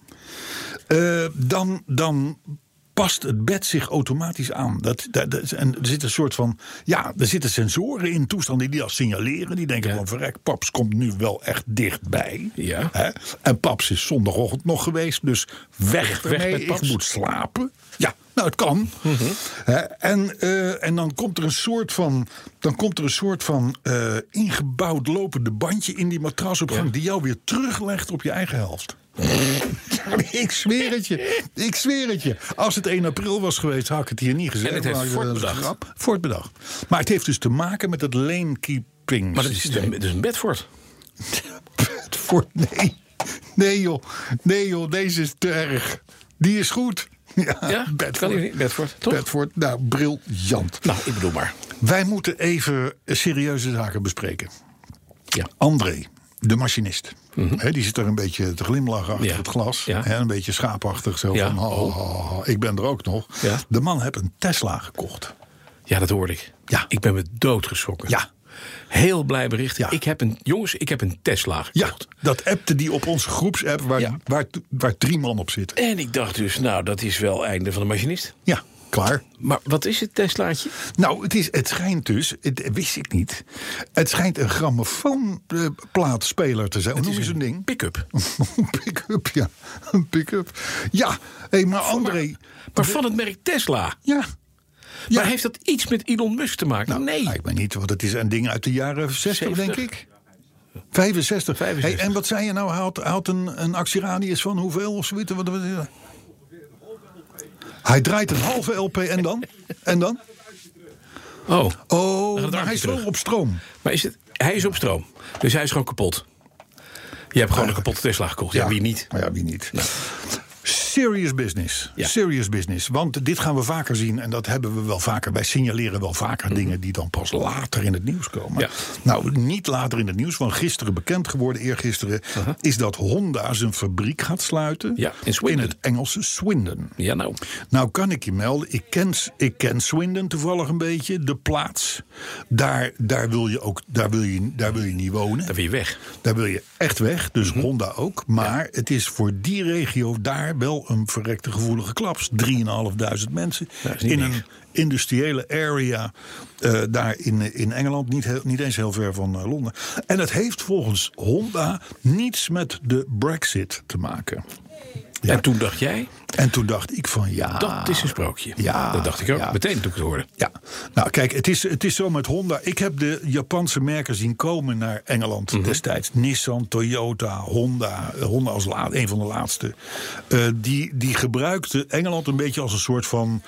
Speaker 2: eh, dan, dan past het bed zich automatisch aan. Dat, dat, dat- en er zit een soort van. Ja, er zitten sensoren in toestanden die dat signaleren. Die denken
Speaker 3: Ja.
Speaker 2: van verrek, paps komt nu wel echt dichtbij.
Speaker 3: Ja.
Speaker 2: Hè? En paps is zondagochtend nog geweest. Dus weg,
Speaker 3: Weg
Speaker 2: ermee,
Speaker 3: met
Speaker 2: ik
Speaker 3: paps. Mhm.
Speaker 2: moet slapen. Ja, nou het kan. Hè, en, eh, en dan komt er een soort van, dan komt er een soort van eh, ingebouwd lopende bandje in die matrasopgang die jou weer teruglegt op je eigen helft. ik zweer het je. Ik zweer het je. Als het 1 april was geweest, had ik het hier niet gezegd.
Speaker 3: En het heeft
Speaker 2: maar ik-
Speaker 3: Ford
Speaker 2: dat is een
Speaker 3: bedacht.
Speaker 2: grap. Ford bedacht. Maar het heeft dus te maken met het lane keeping.
Speaker 3: Maar dat is, dus een- dat is een Bedford.
Speaker 2: Voor nee. Nee joh. Nee joh, deze is te erg. Die is goed. Ja,
Speaker 3: Ja, kan die niet? Bedford, toch?
Speaker 2: Bedford, nou, briljant.
Speaker 3: Nou, ik bedoel maar.
Speaker 2: Wij moeten even serieuze zaken bespreken.
Speaker 3: Ja.
Speaker 2: André, de machinist. Hè, die zit er een beetje te glimlachen achter
Speaker 3: Mhm. Ja.
Speaker 2: het glas.
Speaker 3: Ja.
Speaker 2: Hè, een beetje schaapachtig. Zo
Speaker 3: Ja.
Speaker 2: van, ha, ha, ha, ha, ik ben er ook nog.
Speaker 3: Ja.
Speaker 2: De man heeft een Tesla gekocht.
Speaker 3: Ja, dat hoorde ik.
Speaker 2: Ja.
Speaker 3: Ik ben me doodgeschrokken.
Speaker 2: Ja.
Speaker 3: Heel blij bericht.
Speaker 2: Ja.
Speaker 3: Ik heb een, jongens, ik heb een Tesla
Speaker 2: Ja,
Speaker 3: gekocht.
Speaker 2: dat appte die op onze groepsapp waar,
Speaker 3: Ja.
Speaker 2: waar, waar drie man op zitten.
Speaker 3: En ik dacht dus, nou, dat is wel einde van de machinist.
Speaker 2: Ja, klaar.
Speaker 3: Maar wat is het Teslaatje?
Speaker 2: Nou, het, is, het schijnt dus, het wist ik niet. Het schijnt een grammofoonplaatspeler te zijn. Hoe noem je zo'n ding?
Speaker 3: Pick-up.
Speaker 2: Een pick-up, ja. Een pick-up. Ja, hé, maar André.
Speaker 3: Maar van het merk Tesla.
Speaker 2: Ja. Ja.
Speaker 3: Maar heeft dat iets met Elon Musk te maken? nee.
Speaker 2: Lijkt mij Ah, niet, want het is een ding uit de jaren 60,
Speaker 3: 70.
Speaker 2: denk ik. 65. Hey,
Speaker 3: 65.
Speaker 2: en wat zei je nou? Hij had, hij had een, een actieradius van hoeveel of zoiets? Wat, wat, wat- hij draait een halve LP en dan? En dan?
Speaker 3: Oh,
Speaker 2: Oh,
Speaker 3: het
Speaker 2: maar hij
Speaker 3: armpje
Speaker 2: is wel
Speaker 3: terug.
Speaker 2: op stroom.
Speaker 3: maar is het, hij is op stroom. Dus hij is gewoon kapot. Je hebt gewoon een kapotte Tesla gekocht. Ja, wie niet?
Speaker 2: Maar ja, wie niet? Serious business.
Speaker 3: Ja.
Speaker 2: Serious business. Want dit gaan we vaker zien. En dat hebben we wel vaker. Wij signaleren wel vaker dingen die dan pas later in het nieuws komen.
Speaker 3: Mhm. Ja.
Speaker 2: Nou, niet later in het nieuws. Want gisteren bekend geworden, eergisteren. Is dat Honda zijn fabriek gaat sluiten.
Speaker 3: Ja, in Swindon.
Speaker 2: het Engelse Swindon.
Speaker 3: Ja, nou.
Speaker 2: Nou kan ik je melden, ik ken, ik ken Swindon toevallig een beetje. De plaats. Daar, daar, wil, je ook, daar, wil, je, daar wil je niet wonen.
Speaker 3: Dan ben je weg.
Speaker 2: Daar wil je echt weg, dus
Speaker 3: Mhm.
Speaker 2: Honda ook. Maar het is voor die regio daar wel een verrekte gevoelige klaps. 3.500 mensen
Speaker 3: is niet
Speaker 2: in
Speaker 3: niks.
Speaker 2: een industriële area eh, daar in, in Engeland. Niet, heel- niet eens heel ver van eh, Londen. En dat heeft volgens Honda niets met de brexit te maken. Ja.
Speaker 3: En toen dacht jij,
Speaker 2: En toen dacht ik van ja...
Speaker 3: dat is een sprookje.
Speaker 2: Ja,
Speaker 3: Dat dacht ik ook.
Speaker 2: ja.
Speaker 3: Meteen toen ik het hoorde.
Speaker 2: Ja, nou kijk, het is, het is zo met Honda. Ik heb de Japanse merken zien komen naar Engeland destijds. Nissan, Toyota, Honda. eh, Honda als la- een van de laatste. Eh, die, die gebruikte Engeland een beetje als een soort van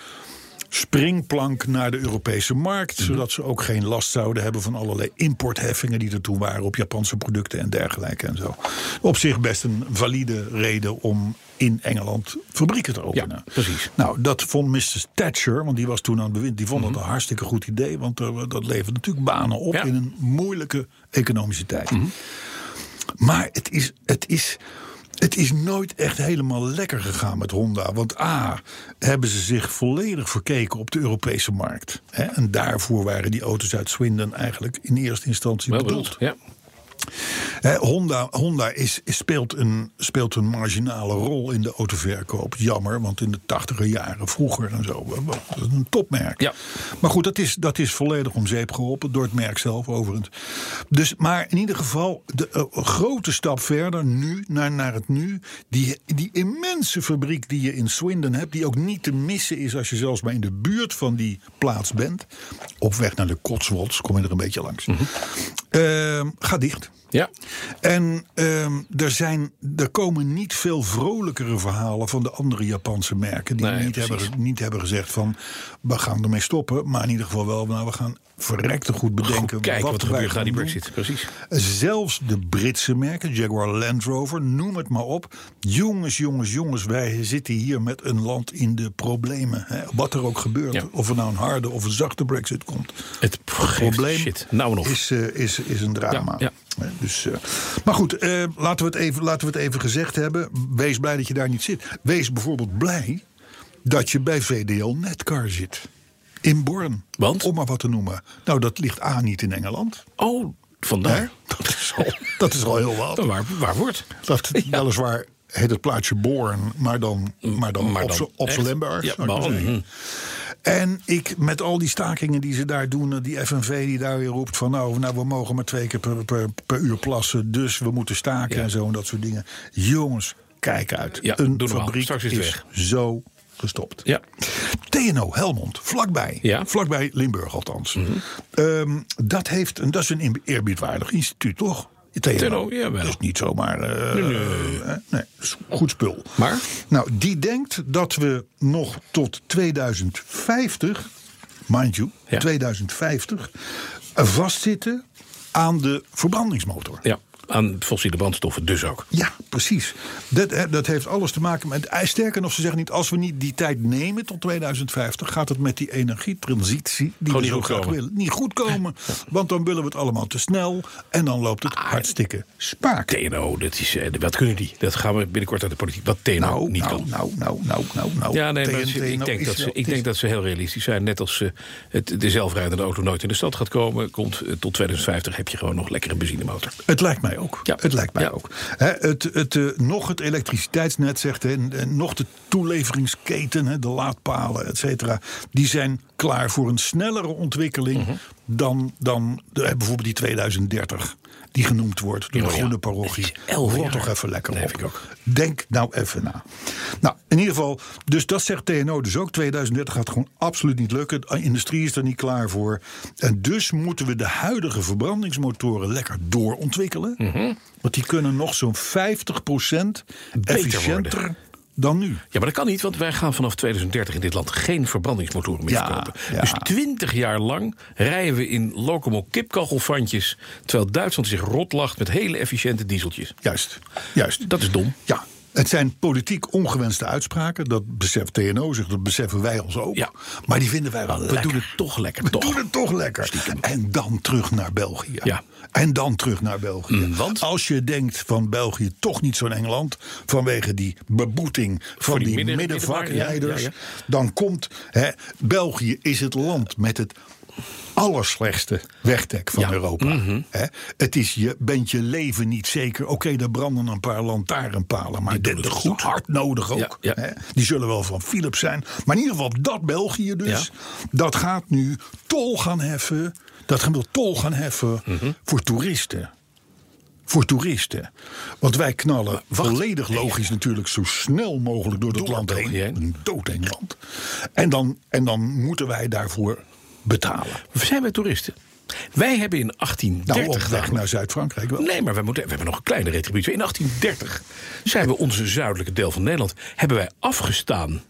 Speaker 2: springplank naar de Europese markt. Zodat ze ook geen last zouden hebben van allerlei importheffingen die er toen waren op Japanse producten en dergelijke en zo. Op zich best een valide reden om in Engeland fabrieken te openen.
Speaker 3: precies.
Speaker 2: Nou, dat vond Mrs. Thatcher, want die was toen aan het bewind, die vond dat een hartstikke goed idee. Want er- dat levert natuurlijk banen op
Speaker 3: Mhm. Ja. Mhm.
Speaker 2: in een moeilijke economische tijd. Maar het is, het, is, het is nooit echt helemaal lekker gegaan met Honda. Want A, hebben ze zich volledig verkeken op de Europese markt. Hè? En daarvoor waren die auto's uit Swindon eigenlijk in eerste instantie
Speaker 3: Wel
Speaker 2: bedoeld.
Speaker 3: bedoeld. Ja.
Speaker 2: Hè, Honda, Honda is, is- speelt, een, speelt een marginale rol in de autoverkoop. Jammer, want in de tachtiger jaren, vroeger en zo, was het een topmerk.
Speaker 3: Ja.
Speaker 2: Maar goed, dat is, dat is volledig om zeep geholpen door het merk zelf overigens. Dus, maar in ieder geval, de eh, grote stap verder nu, naar, naar het nu. Die, die immense fabriek die je in Swindon hebt, die ook niet te missen is als je zelfs maar in de buurt van die plaats bent. Op weg naar de Cotswolds, kom je er een beetje langs. Ehm, ga dicht.
Speaker 3: ja.
Speaker 2: En ehm, er, zijn, er komen niet veel vrolijkere verhalen van de andere Japanse merken. Die
Speaker 3: Nee,
Speaker 2: niet, hebben,
Speaker 3: precies.
Speaker 2: niet hebben gezegd van we gaan ermee stoppen. Maar in ieder geval wel, nou, we gaan verrekte goed bedenken.
Speaker 3: Goed kijken wat er gebeurt
Speaker 2: wij
Speaker 3: na
Speaker 2: gaan
Speaker 3: die
Speaker 2: doen.
Speaker 3: brexit. Precies.
Speaker 2: Zelfs de Britse merken, Jaguar Land Rover, noem het maar op. Jongens, jongens, jongens, wij zitten hier met een land in de problemen. Hè. Wat er ook gebeurt,
Speaker 3: Ja.
Speaker 2: of er nou een harde of een zachte brexit komt.
Speaker 3: Het probleem
Speaker 2: probleem
Speaker 3: shit. Nou en of.
Speaker 2: Is, eh, is, is een drama.
Speaker 3: Ja,
Speaker 2: Eh, Dus, eh, maar goed, eh, laten, we het even, laten we het even gezegd hebben. Wees blij dat je daar niet zit. Wees bijvoorbeeld blij dat je bij VDL Netcar zit. In Born.
Speaker 3: Want?
Speaker 2: Om maar wat te noemen. Nou, dat ligt A niet in Engeland.
Speaker 3: Oh,
Speaker 2: Hè?
Speaker 3: vandaar.
Speaker 2: Dat, is al, dat is al heel wat.
Speaker 3: Waar, waar wordt?
Speaker 2: Dat, weliswaar heet het plaatje Born, maar dan, maar dan,
Speaker 3: Maar
Speaker 2: op
Speaker 3: dan
Speaker 2: z'n- op zijn
Speaker 3: echt.
Speaker 2: Lemberg.
Speaker 3: Ja,
Speaker 2: zou ik maar
Speaker 3: maar-
Speaker 2: zeggen. En ik, met al die stakingen die ze daar doen, eh, die FNV die daar weer roept van nou, nou we mogen maar twee keer per, per, per uur plassen, dus we moeten staken
Speaker 3: Ja.
Speaker 2: en zo en dat soort dingen. Jongens, kijk uit.
Speaker 3: Ja,
Speaker 2: Een
Speaker 3: doe normaal.
Speaker 2: fabriek
Speaker 3: Straks is
Speaker 2: is,
Speaker 3: het weg.
Speaker 2: zo gestopt.
Speaker 3: Ja.
Speaker 2: TNO Helmond, vlakbij.
Speaker 3: Ja. Mhm.
Speaker 2: Vlakbij Limburg althans. Ehm, dat, heeft, een- dat is een in- eerbiedwaardig instituut, toch? TNO,
Speaker 3: TNO, jawel.
Speaker 2: Dus niet zomaar... eh, eh, nee, is goed spul.
Speaker 3: Maar?
Speaker 2: Nou, die denkt dat we nog tot 2050, mind you,
Speaker 3: Ja.
Speaker 2: 2050... vastzitten aan de verbrandingsmotor.
Speaker 3: Ja, aan fossiele brandstoffen dus ook.
Speaker 2: Ja, precies. Dat, hè, dat heeft alles te maken met. eh, Sterker nog, ze zeggen niet. Als we niet die tijd nemen tot 2050. gaat het met die energietransitie. die
Speaker 3: Gewoon
Speaker 2: we
Speaker 3: niet
Speaker 2: zo
Speaker 3: goed
Speaker 2: graag
Speaker 3: komen.
Speaker 2: willen. niet goed komen. Want dan willen we het allemaal te snel. en dan loopt
Speaker 3: Ah,
Speaker 2: het hartstikke spaak.
Speaker 3: TNO, dat is, eh, wat kunnen die? Dat gaan we binnenkort uit de politiek. Wat TNO
Speaker 2: Nou,
Speaker 3: niet
Speaker 2: nou,
Speaker 3: kan.
Speaker 2: nou, nou, nou, nou, nou.
Speaker 3: Ja, nee, maar
Speaker 2: TNT
Speaker 3: ik- ik,
Speaker 2: nou
Speaker 3: denk
Speaker 2: is
Speaker 3: dat ze,
Speaker 2: wel-
Speaker 3: ik
Speaker 2: is-
Speaker 3: denk dat ze heel realistisch zijn. Net als eh, het, de zelfrijdende auto nooit in de stad gaat komen, komt eh, tot 2050 heb je gewoon nog lekkere benzinemotor.
Speaker 2: Het lijkt mij ook.
Speaker 3: Ja.
Speaker 2: Het lijkt mij
Speaker 3: Ja.
Speaker 2: ook. Hè, het, het, eh, nog het elektriciteitsnet zegt, hè, en, en nog de toeleveringsketen, hè, de laadpalen, et cetera. Die zijn klaar voor een snellere ontwikkeling
Speaker 3: Mhm.
Speaker 2: dan, dan de, hè, bijvoorbeeld die 2030. Die genoemd wordt door de
Speaker 3: Ja, ja.
Speaker 2: groene parochie.
Speaker 3: Het is elf
Speaker 2: Rot
Speaker 3: jaar.
Speaker 2: toch even lekker
Speaker 3: Nee,
Speaker 2: op.
Speaker 3: vind ik ook.
Speaker 2: Denk nou even na. Nou, in ieder geval, dus dat zegt TNO dus ook. 2030 gaat gewoon absoluut niet lukken. De industrie is er niet klaar voor. En dus moeten we de huidige verbrandingsmotoren lekker doorontwikkelen.
Speaker 3: Mhm.
Speaker 2: Want die kunnen nog zo'n 50% efficiënter
Speaker 3: worden.
Speaker 2: dan nu.
Speaker 3: Ja, maar dat kan niet, want wij gaan vanaf 2030 in dit land geen verbrandingsmotoren meer
Speaker 2: Ja,
Speaker 3: verkopen.
Speaker 2: ja.
Speaker 3: Dus 20 jaar lang rijden we in locomo kipkachelfantjes, terwijl Duitsland zich rotlacht met hele efficiënte dieseltjes.
Speaker 2: Juist, juist.
Speaker 3: Dat is dom.
Speaker 2: Ja, het zijn politiek ongewenste uitspraken. Dat beseft TNO zich, dus dat beseffen wij ons ook.
Speaker 3: Ja.
Speaker 2: Maar die vinden wij wel
Speaker 3: We
Speaker 2: lekker.
Speaker 3: doen het toch lekker,
Speaker 2: We
Speaker 3: toch?
Speaker 2: doen het toch lekker. En dan terug naar België.
Speaker 3: Ja.
Speaker 2: En dan terug naar België.
Speaker 3: Mm, want?
Speaker 2: Als je denkt van België toch niet zo'n Engeland... vanwege die beboeting van
Speaker 3: die
Speaker 2: die,
Speaker 3: midden-
Speaker 2: middenvakrijders...
Speaker 3: middenvaar,
Speaker 2: dan komt... Hè, België is het land met het allerslechtste wegdek van
Speaker 3: Ja. Mhm.
Speaker 2: Europa. Hè? Het is je, bent je leven niet zeker. Oké, daar branden een paar lantaarnpalen... maar dit
Speaker 3: doen
Speaker 2: is
Speaker 3: het
Speaker 2: goed
Speaker 3: goed.
Speaker 2: hard nodig ook.
Speaker 3: Ja, ja.
Speaker 2: Hè? Die zullen wel van Philips zijn. Maar in ieder geval dat België dus.
Speaker 3: Ja.
Speaker 2: Dat gaat nu tol gaan heffen. Dat gaan we tol gaan heffen
Speaker 3: Mhm.
Speaker 2: voor toeristen. Voor toeristen. Want wij knallen volledig logisch natuurlijk zo snel mogelijk door dat
Speaker 3: Door
Speaker 2: land
Speaker 3: België heen.
Speaker 2: heen. Een doodeng land. En dan, en dan moeten wij daarvoor betalen.
Speaker 3: Zijn wij toeristen? Wij hebben in
Speaker 2: Nou,
Speaker 3: 1830
Speaker 2: op weg
Speaker 3: namelijk-
Speaker 2: naar Zuid-Frankrijk wel.
Speaker 3: Nee, maar we, moeten, we hebben nog een kleine retributie. In 1830 zijn we onze zuidelijke deel van Nederland... hebben wij afgestaan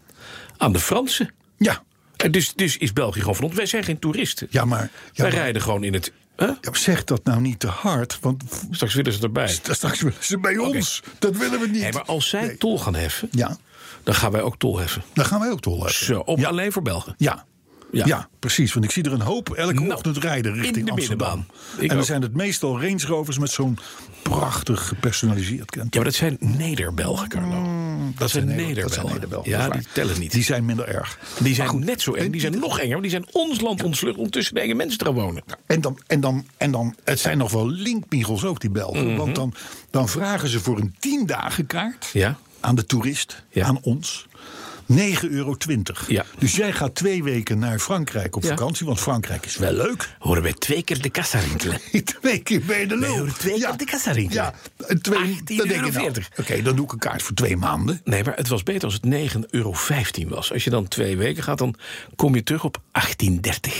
Speaker 3: aan de Fransen.
Speaker 2: Ja,
Speaker 3: En dus, dus is België gewoon van ons. Wij zijn geen toeristen.
Speaker 2: ja maar, ja,
Speaker 3: wij
Speaker 2: maar
Speaker 3: rijden gewoon in het... hè?
Speaker 2: ja, zeg dat nou niet te hard. Want
Speaker 3: Straks willen ze erbij.
Speaker 2: straks willen ze bij ons. Dat willen we niet.
Speaker 3: Nee, maar als zij
Speaker 2: Nee.
Speaker 3: tol gaan heffen,
Speaker 2: Ja,
Speaker 3: dan gaan wij ook tol heffen.
Speaker 2: daar gaan wij ook tol hebben.
Speaker 3: Zo, op, alleen voor Belgen.
Speaker 2: Ja.
Speaker 3: Ja.
Speaker 2: Ja. precies. Want ik zie er een hoop elke
Speaker 3: Nou,
Speaker 2: ochtend rijden
Speaker 3: in
Speaker 2: richting
Speaker 3: de
Speaker 2: Amsterdam.
Speaker 3: middenbaan. Ik
Speaker 2: En dan
Speaker 3: ook.
Speaker 2: zijn het meestal Range Rovers met zo'n prachtig gepersonaliseerd kenteken.
Speaker 3: Ja, maar dat zijn Nederbelgen, Carlo. dat, zijn
Speaker 2: Nederland- Mm, dat zijn
Speaker 3: Nederbelgen.
Speaker 2: Nederland,
Speaker 3: Ja,
Speaker 2: dat is
Speaker 3: die
Speaker 2: waar.
Speaker 3: tellen niet.
Speaker 2: Die zijn minder erg.
Speaker 3: Die zijn net zo eng, die zijn nog enger, want die zijn ons land ontvlucht om tussen de eigen mensen te gaan wonen.
Speaker 2: En dan, en dan, en dan, het zijn nog wel linkmiegels ook, die Belgen.
Speaker 3: Mhm.
Speaker 2: Want dan, dan vragen ze voor een 10 dagen kaart
Speaker 3: Ja.
Speaker 2: aan de toerist,
Speaker 3: Ja.
Speaker 2: aan ons. 9,20 euro.
Speaker 3: Ja.
Speaker 2: Dus jij gaat twee weken naar Frankrijk op
Speaker 3: Ja.
Speaker 2: vakantie, want Frankrijk is wel leuk.
Speaker 3: Horen wij twee keer de kassa rinkelen.
Speaker 2: Twee keer bij de lul.
Speaker 3: Nee, hoor, twee keer de kassa rinkelen.
Speaker 2: Ja, en twee, dan denk je nou,
Speaker 3: 18,40.
Speaker 2: oké, dan doe ik een kaart voor twee maanden.
Speaker 3: Nee, maar het was beter als het 9,15 euro was. Als je dan twee weken gaat, dan kom je terug op 18,30.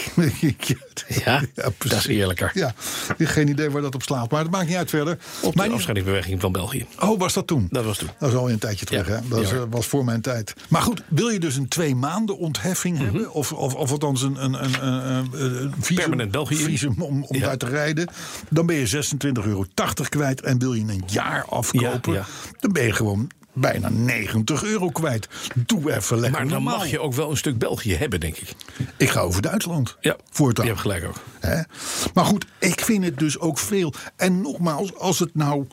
Speaker 3: Ja, dat is eerlijker.
Speaker 2: Ja, geen idee waar dat op slaat, maar dat maakt niet uit verder.
Speaker 3: Op
Speaker 2: Maar
Speaker 3: de
Speaker 2: in-
Speaker 3: afscheidingsbeweging van België.
Speaker 2: Oh, was dat toen?
Speaker 3: Dat was toen.
Speaker 2: Dat is alweer een tijdje terug,
Speaker 3: Ja,
Speaker 2: hè? Dat is,
Speaker 3: ja.
Speaker 2: eh, was voor mijn tijd. Maar goed, wil je dus een twee maanden ontheffing
Speaker 3: Mhm.
Speaker 2: hebben? Of, of, of althans een, een, een, een, een- een visum,
Speaker 3: Permanent België.
Speaker 2: visum om, om
Speaker 3: Ja.
Speaker 2: uit te rijden? Dan ben je 26,80 euro kwijt. En wil je een jaar afkopen?
Speaker 3: Ja, ja.
Speaker 2: Dan ben je gewoon bijna 90 euro kwijt. Doe even lekker
Speaker 3: Maar dan
Speaker 2: normaal.
Speaker 3: mag je ook wel een stuk België hebben, denk ik.
Speaker 2: Ik ga over Duitsland.
Speaker 3: Ja,
Speaker 2: voortaan.
Speaker 3: je hebt gelijk ook.
Speaker 2: Hè? Maar goed, ik vind het dus ook veel. En nogmaals, als het nou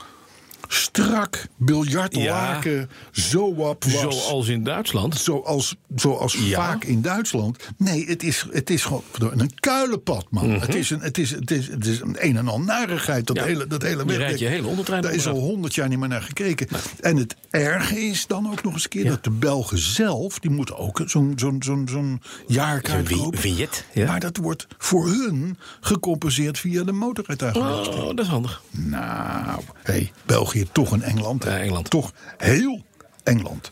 Speaker 2: strak biljartlaken zoap was.
Speaker 3: Zoals in Duitsland.
Speaker 2: Zoals, zoals
Speaker 3: Ja.
Speaker 2: vaak in Duitsland. Nee, het is, het is gewoon een kuilenpad, man. het, is een, het, is, het, is, het is een een en al narigheid. Dat
Speaker 3: Mhm. Ja.
Speaker 2: hele, dat hele
Speaker 3: Je
Speaker 2: wegdek.
Speaker 3: rijdt je hele ondertrein
Speaker 2: Daar is al
Speaker 3: onderuit.
Speaker 2: honderd jaar niet meer naar gekeken. En het erge is dan ook nog eens een keer... dat de Belgen zelf, die moeten ook zo'n zo'n zo'n zo'n jaarkaart
Speaker 3: Een wi-
Speaker 2: kopen.
Speaker 3: vignet, ja.
Speaker 2: Maar dat wordt voor hun gecompenseerd via de motorrijtuigenbelasting.
Speaker 3: Oh, dat is handig.
Speaker 2: Nou, hey, België toch een Engeland. hè?
Speaker 3: Ja, Engeland.
Speaker 2: Toch heel Engeland.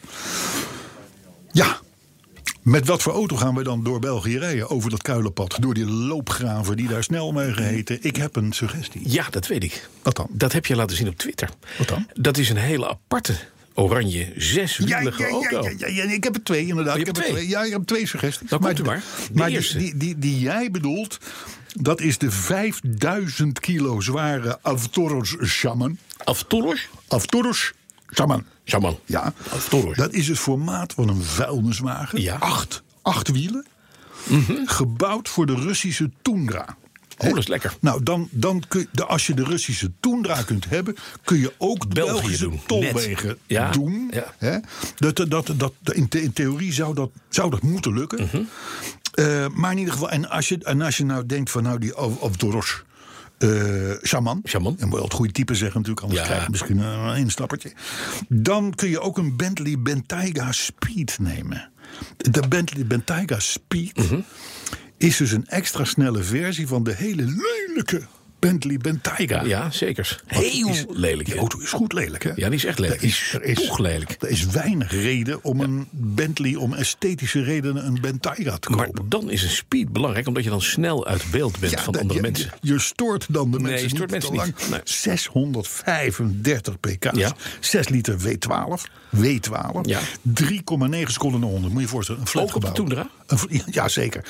Speaker 2: Ja. Met wat voor auto gaan we dan door België rijden? Over dat kuilenpad, door die loopgraven die daar snel mee geheten. Ik heb een suggestie.
Speaker 3: Ja, dat weet ik.
Speaker 2: Wat dan?
Speaker 3: Dat heb je laten zien op Twitter.
Speaker 2: Wat dan?
Speaker 3: Dat is een hele aparte oranje zeswielige auto.
Speaker 2: ja, ja, ik heb er twee inderdaad.
Speaker 3: Oh, je
Speaker 2: ik heb
Speaker 3: hebt
Speaker 2: er
Speaker 3: twee?
Speaker 2: Ja, ik heb twee suggesties.
Speaker 3: Dan komt u maar. De
Speaker 2: maar die,
Speaker 3: eerste.
Speaker 2: die, die, die jij bedoelt, dat is de 5000 kilo zware Avtoros Shaman.
Speaker 3: Aftoros?
Speaker 2: Avtoros Shaman.
Speaker 3: Shaman. Oh,
Speaker 2: Ja,
Speaker 3: Aftoros.
Speaker 2: dat is het formaat van een vuilniswagen.
Speaker 3: Ja. Mhm.
Speaker 2: Acht, acht wielen. Gebouwd voor de Russische Tundra.
Speaker 3: Oh, dat is lekker.
Speaker 2: Nou, dan, dan kun je, de- als je de Russische Tundra kunt hebben, kun je ook de
Speaker 3: België
Speaker 2: Belgische
Speaker 3: doen.
Speaker 2: tolwegen
Speaker 3: Net. Ja,
Speaker 2: doen.
Speaker 3: ja.
Speaker 2: Hè? Dat, dat, dat, dat- in, the- in theorie zou dat, zou dat moeten lukken.
Speaker 3: Mhm.
Speaker 2: Eh, maar in ieder geval, en als, je, en als je nou denkt van nou die Av- Avdoros. eh shaman.
Speaker 3: Shaman.
Speaker 2: En wel het goede type zeggen natuurlijk, anders
Speaker 3: Ja.
Speaker 2: krijg je misschien een instappertje. Dan kun je ook een Bentley Bentayga Speed nemen. De Bentley Bentayga Speed
Speaker 3: Mhm.
Speaker 2: is dus een extra snelle versie van de hele lelijke Bentley Bentayga.
Speaker 3: Ja, zeker.
Speaker 2: Want die
Speaker 3: Heel
Speaker 2: is-
Speaker 3: lelijk.
Speaker 2: Die
Speaker 3: hè?
Speaker 2: auto is goed lelijk, hè?
Speaker 3: Ja, die is echt lelijk.
Speaker 2: Er is, er is,
Speaker 3: Toch lelijk.
Speaker 2: Er is weinig reden om een Bentley, om esthetische redenen, een Bentayga te
Speaker 3: Maar
Speaker 2: kopen.
Speaker 3: dan is een speed belangrijk, omdat je dan snel uit beeld bent
Speaker 2: Ja,
Speaker 3: van
Speaker 2: dat-
Speaker 3: andere
Speaker 2: je,
Speaker 3: mensen.
Speaker 2: Je, je stoort dan de
Speaker 3: Nee,
Speaker 2: mensen
Speaker 3: je stoort mensen
Speaker 2: niet te lang.
Speaker 3: niet. Nee.
Speaker 2: 635 pk,
Speaker 3: Ja.
Speaker 2: 6 liter W12, W12,
Speaker 3: Ja.
Speaker 2: 3,9 seconden naar 100. Moet je je voorstellen, een
Speaker 3: Ook op de
Speaker 2: flatgebouw.
Speaker 3: Tundra?
Speaker 2: Een fl- ja, ja, zeker.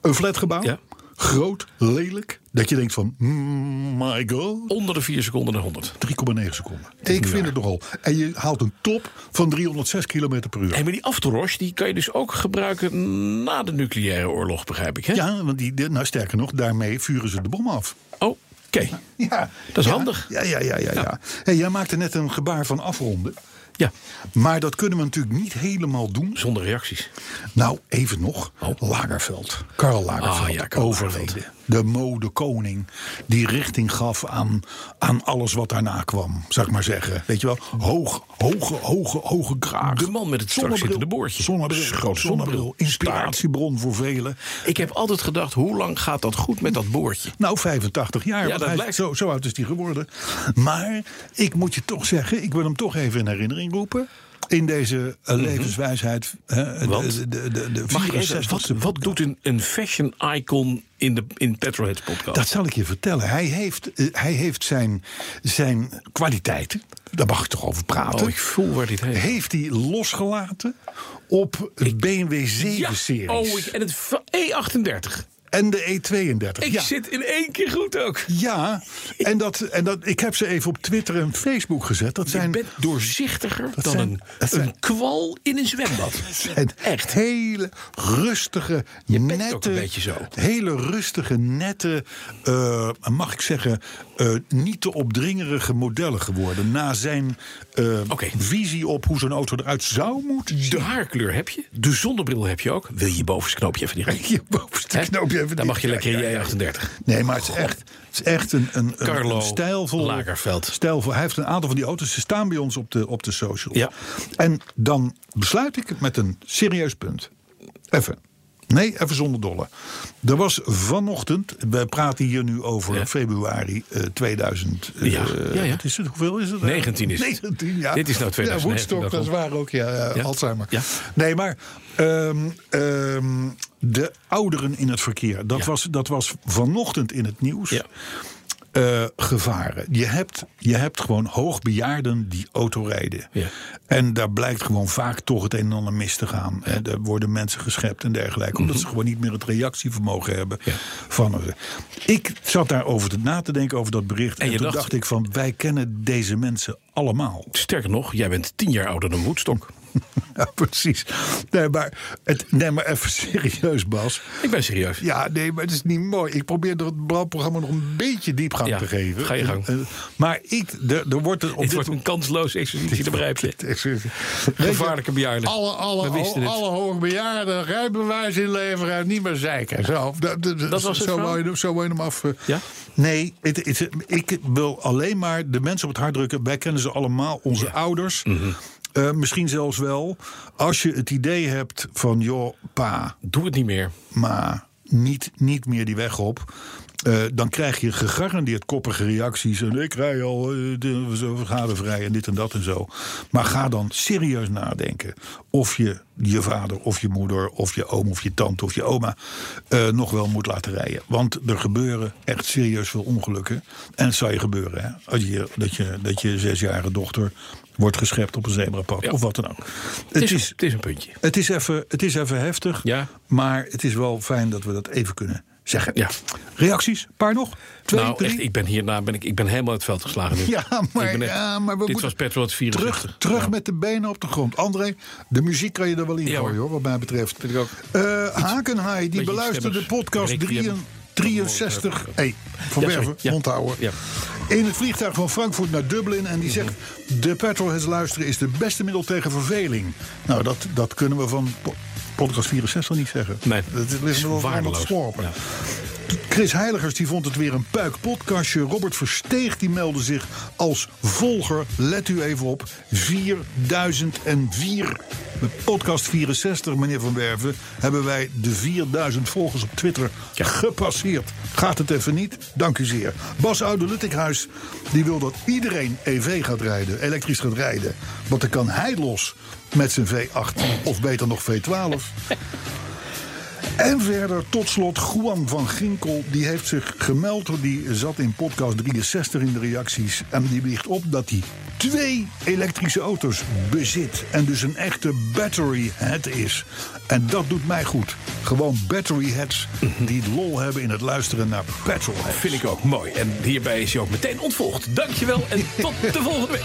Speaker 2: Een flatgebouw,
Speaker 3: Ja.
Speaker 2: groot, lelijk, dat je denkt van, mm, my god.
Speaker 3: Onder de 4 seconden naar 100.
Speaker 2: 3,9 seconden. Ik vind het nogal. En je haalt een top van 306 km per uur.
Speaker 3: En maar die Aftoros, die kan je dus ook gebruiken na de nucleaire oorlog, begrijp ik, hè?
Speaker 2: Ja, want die, nou sterker nog, daarmee vuren ze de bom af.
Speaker 3: Oh, Oké.
Speaker 2: Ja,
Speaker 3: Dat is
Speaker 2: ja,
Speaker 3: handig.
Speaker 2: Ja, ja, ja, ja. ja. Hey, jij maakte net een gebaar van afronden.
Speaker 3: Ja,
Speaker 2: Maar dat kunnen we natuurlijk niet helemaal doen.
Speaker 3: zonder reacties.
Speaker 2: Nou, even nog. Lagerveld. Karl Lagerveld.
Speaker 3: Oh. Ah, ja, Karl
Speaker 2: overleden.
Speaker 3: Lagerfeld.
Speaker 2: De modekoning. Die richting gaf aan, aan alles wat daarna kwam. Zou ik maar zeggen. Weet je wel? Hoog, hoge, hoge, hoge kraag.
Speaker 3: De man met het strak
Speaker 2: Zonnebril.
Speaker 3: zittende boordje.
Speaker 2: Zonnebril.
Speaker 3: Grote
Speaker 2: zonnebril.
Speaker 3: zonnebril.
Speaker 2: Inspiratiebron voor velen.
Speaker 3: Ik heb altijd gedacht, hoe lang gaat dat goed met dat boordje?
Speaker 2: Nou, 85 jaar.
Speaker 3: Ja,
Speaker 2: want
Speaker 3: dat
Speaker 2: hij,
Speaker 3: blijkt.
Speaker 2: zo, zo oud is hij geworden. Maar ik moet je toch zeggen, ik wil hem toch even in herinnering roepen. In deze eh, levenswijsheid. hè,
Speaker 3: Mhm. Want?
Speaker 2: de, de, de, de
Speaker 3: Mag ik even,
Speaker 2: 64ste
Speaker 3: wat, wat doet een, een fashion icon in de in Petroheads podcast?
Speaker 2: Dat zal ik je vertellen. Hij heeft, eh, hij heeft zijn, zijn kwaliteiten. Daar mag ik toch over praten.
Speaker 3: oh, ik voel waar dit heen gaat.
Speaker 2: heeft hij losgelaten op het BMW 7-series
Speaker 3: Ja, oh, ik, en het va- E38.
Speaker 2: en de E32.
Speaker 3: Ik
Speaker 2: ja.
Speaker 3: zit in één keer goed ook.
Speaker 2: ja, en, dat, en dat, ik heb ze even op Twitter en Facebook gezet. Dat
Speaker 3: Je
Speaker 2: zijn,
Speaker 3: bent doorzichtiger dan
Speaker 2: zijn-
Speaker 3: een,
Speaker 2: dat zijn-
Speaker 3: een kwal in een zwembad.
Speaker 2: zijn
Speaker 3: Echt.
Speaker 2: hele rustige,
Speaker 3: bent
Speaker 2: nette,
Speaker 3: ook een beetje zo.
Speaker 2: hele rustige, nette, eh, mag ik zeggen, eh, niet te opdringerige modellen geworden. Na zijn eh,
Speaker 3: Oké.
Speaker 2: visie op hoe zo'n auto eruit zou moeten zien.
Speaker 3: De haarkleur heb je. De zonnebril heb je ook. Wil je je bovenste knoopje even niet rekken?
Speaker 2: Je bovenste
Speaker 3: Hè?
Speaker 2: knoopje even
Speaker 3: Dan
Speaker 2: niet.
Speaker 3: mag je lekker in
Speaker 2: Ja, ja,
Speaker 3: je
Speaker 2: ja.
Speaker 3: E38.
Speaker 2: Nee, maar het is echt, het is echt een, een, een,
Speaker 3: Carlo
Speaker 2: een stijlvol,
Speaker 3: Lagerfeld.
Speaker 2: stijlvol. Hij heeft een aantal van die auto's. Ze staan bij ons op de, op de social.
Speaker 3: Ja.
Speaker 2: En dan besluit ik het met een serieus punt. Even. Nee, even zonder dolle. Er was vanochtend, we praten hier nu over
Speaker 3: Ja.
Speaker 2: februari eh, 2000. eh,
Speaker 3: Ja, ja, ja.
Speaker 2: Wat is het? Hoeveel is het?
Speaker 3: 19 is het.
Speaker 2: 19, ja.
Speaker 3: Dit is nou 2019,
Speaker 2: Ja, Woodstock, dat is
Speaker 3: daarom.
Speaker 2: waar ook. Ja, eh,
Speaker 3: Ja.
Speaker 2: Alzheimer.
Speaker 3: Ja.
Speaker 2: Nee, maar ehm, ehm, de ouderen in het verkeer. Dat,
Speaker 3: Ja.
Speaker 2: was, dat was vanochtend in het nieuws.
Speaker 3: Ja.
Speaker 2: Eh, gevaren. Je hebt, je hebt gewoon hoogbejaarden die auto rijden.
Speaker 3: Ja.
Speaker 2: En daar blijkt gewoon vaak toch het een en ander mis te gaan. Eh, Er worden mensen geschept en dergelijke. Omdat ze gewoon niet meer het reactievermogen hebben.
Speaker 3: Mhm. Ja.
Speaker 2: Van, eh, ik zat daarover te, na te denken over dat bericht. En,
Speaker 3: je
Speaker 2: toen
Speaker 3: dacht-
Speaker 2: dacht ik van wij kennen deze mensen allemaal.
Speaker 3: Sterker nog, jij bent tien jaar ouder dan Woodstock.
Speaker 2: Ja, precies. Nee maar, het, nee, maar even serieus, Bas.
Speaker 3: Ik ben serieus.
Speaker 2: Ja, nee, maar het is niet mooi. Ik probeer door het blauwprogramma nog een beetje diepgang
Speaker 3: Ja,
Speaker 2: te geven.
Speaker 3: ga je gang.
Speaker 2: Eh, maar ik, er, er wordt er op
Speaker 3: Het
Speaker 2: dit
Speaker 3: wordt een kansloos exercitie, dat begrijp je. Gevaarlijke bejaarden.
Speaker 2: Alle, alle,
Speaker 3: We wisten
Speaker 2: alle,
Speaker 3: het.
Speaker 2: alle hoogbejaarden rijbewijs inleveren en niet meer zeiken. Zo, dat, dat-
Speaker 3: Dat was het
Speaker 2: zo,
Speaker 3: verhaal?
Speaker 2: wou je, hem- zo wou je hem af. eh.
Speaker 3: Ja?
Speaker 2: Nee, het, het- ik wil alleen maar de mensen op het hart drukken. Wij kennen ze allemaal, onze ouders.
Speaker 3: Mhm.
Speaker 2: Eh, misschien zelfs wel. Als je het idee hebt van, joh, pa,
Speaker 3: Doe het niet meer.
Speaker 2: maar niet, niet meer die weg op. Eh, dan krijg je gegarandeerd koppige reacties. En ik rij al eh, de- zo vergadervrij en dit en dat en zo. Maar ga dan serieus nadenken. Of je je vader of je moeder of je oom of je tante of je oma eh, nog wel moet laten rijden. Want er gebeuren echt serieus veel ongelukken. En het zou je gebeuren hè? Als je, dat, je, dat je zesjarige dochter wordt geschept op een zebrapad. Of wat dan ook.
Speaker 3: Het is, het is een puntje.
Speaker 2: Het is even, het is even heftig,
Speaker 3: Ja.
Speaker 2: maar het is wel fijn dat we dat even kunnen zeggen.
Speaker 3: Ja.
Speaker 2: Reacties? Paar nog? Twee,
Speaker 3: nou,
Speaker 2: drie?
Speaker 3: echt, ik ben hierna ben ik, ik ben helemaal uit het veld geslagen. nu.
Speaker 2: Ja, maar-
Speaker 3: Ik ben
Speaker 2: ja, maar we
Speaker 3: dit
Speaker 2: moeten
Speaker 3: was Petrol het 64.
Speaker 2: Terug, terug met de benen op de grond. André, de muziek kan je er wel in
Speaker 3: Ja,
Speaker 2: gooien,
Speaker 3: hoor.
Speaker 2: hoor, wat mij betreft.
Speaker 3: Vind ik ook.
Speaker 2: Eh, Hakenhaai, die
Speaker 3: Beetje
Speaker 2: beluisterde de
Speaker 3: stemmig.
Speaker 2: podcast
Speaker 3: Requiem.
Speaker 2: 63. 63. Hey, van
Speaker 3: Ja,
Speaker 2: Werven,
Speaker 3: sorry. Ja.
Speaker 2: mond houden.
Speaker 3: Ja.
Speaker 2: In het vliegtuig van Frankfurt naar Dublin. En die zegt, de petrolheads luisteren is de beste middel tegen verveling. Nou, dat, dat kunnen we van po- podcast 64 niet zeggen.
Speaker 3: Nee,
Speaker 2: Dat
Speaker 3: het
Speaker 2: is
Speaker 3: is
Speaker 2: wel aan het
Speaker 3: waardeloos.
Speaker 2: slorpen.
Speaker 3: Ja.
Speaker 2: Chris Heiligers die vond het weer een puik podcastje. Robert Versteeg die meldde zich als volger. Let u even op. 4004. Met podcast 64, meneer Van Werven, hebben wij de 4000 volgers op Twitter gepasseerd. Gaat het even niet? Dank u zeer. Bas Oude Luttikhuis die wil dat iedereen EV gaat rijden, elektrisch gaat rijden. Want dan kan hij los met zijn V8 of beter nog V12. En verder tot slot Juan van Ginkel. Die heeft zich gemeld. Die zat in podcast 63 in de reacties. En die wiegt op dat hij twee elektrische auto's bezit. En dus een echte battery head is. En dat doet mij goed. Gewoon battery heads die lol hebben in het luisteren naar petrolheads.
Speaker 3: Vind ik ook mooi. En hierbij is je ook meteen ontvolgd. Dankjewel en tot de volgende week.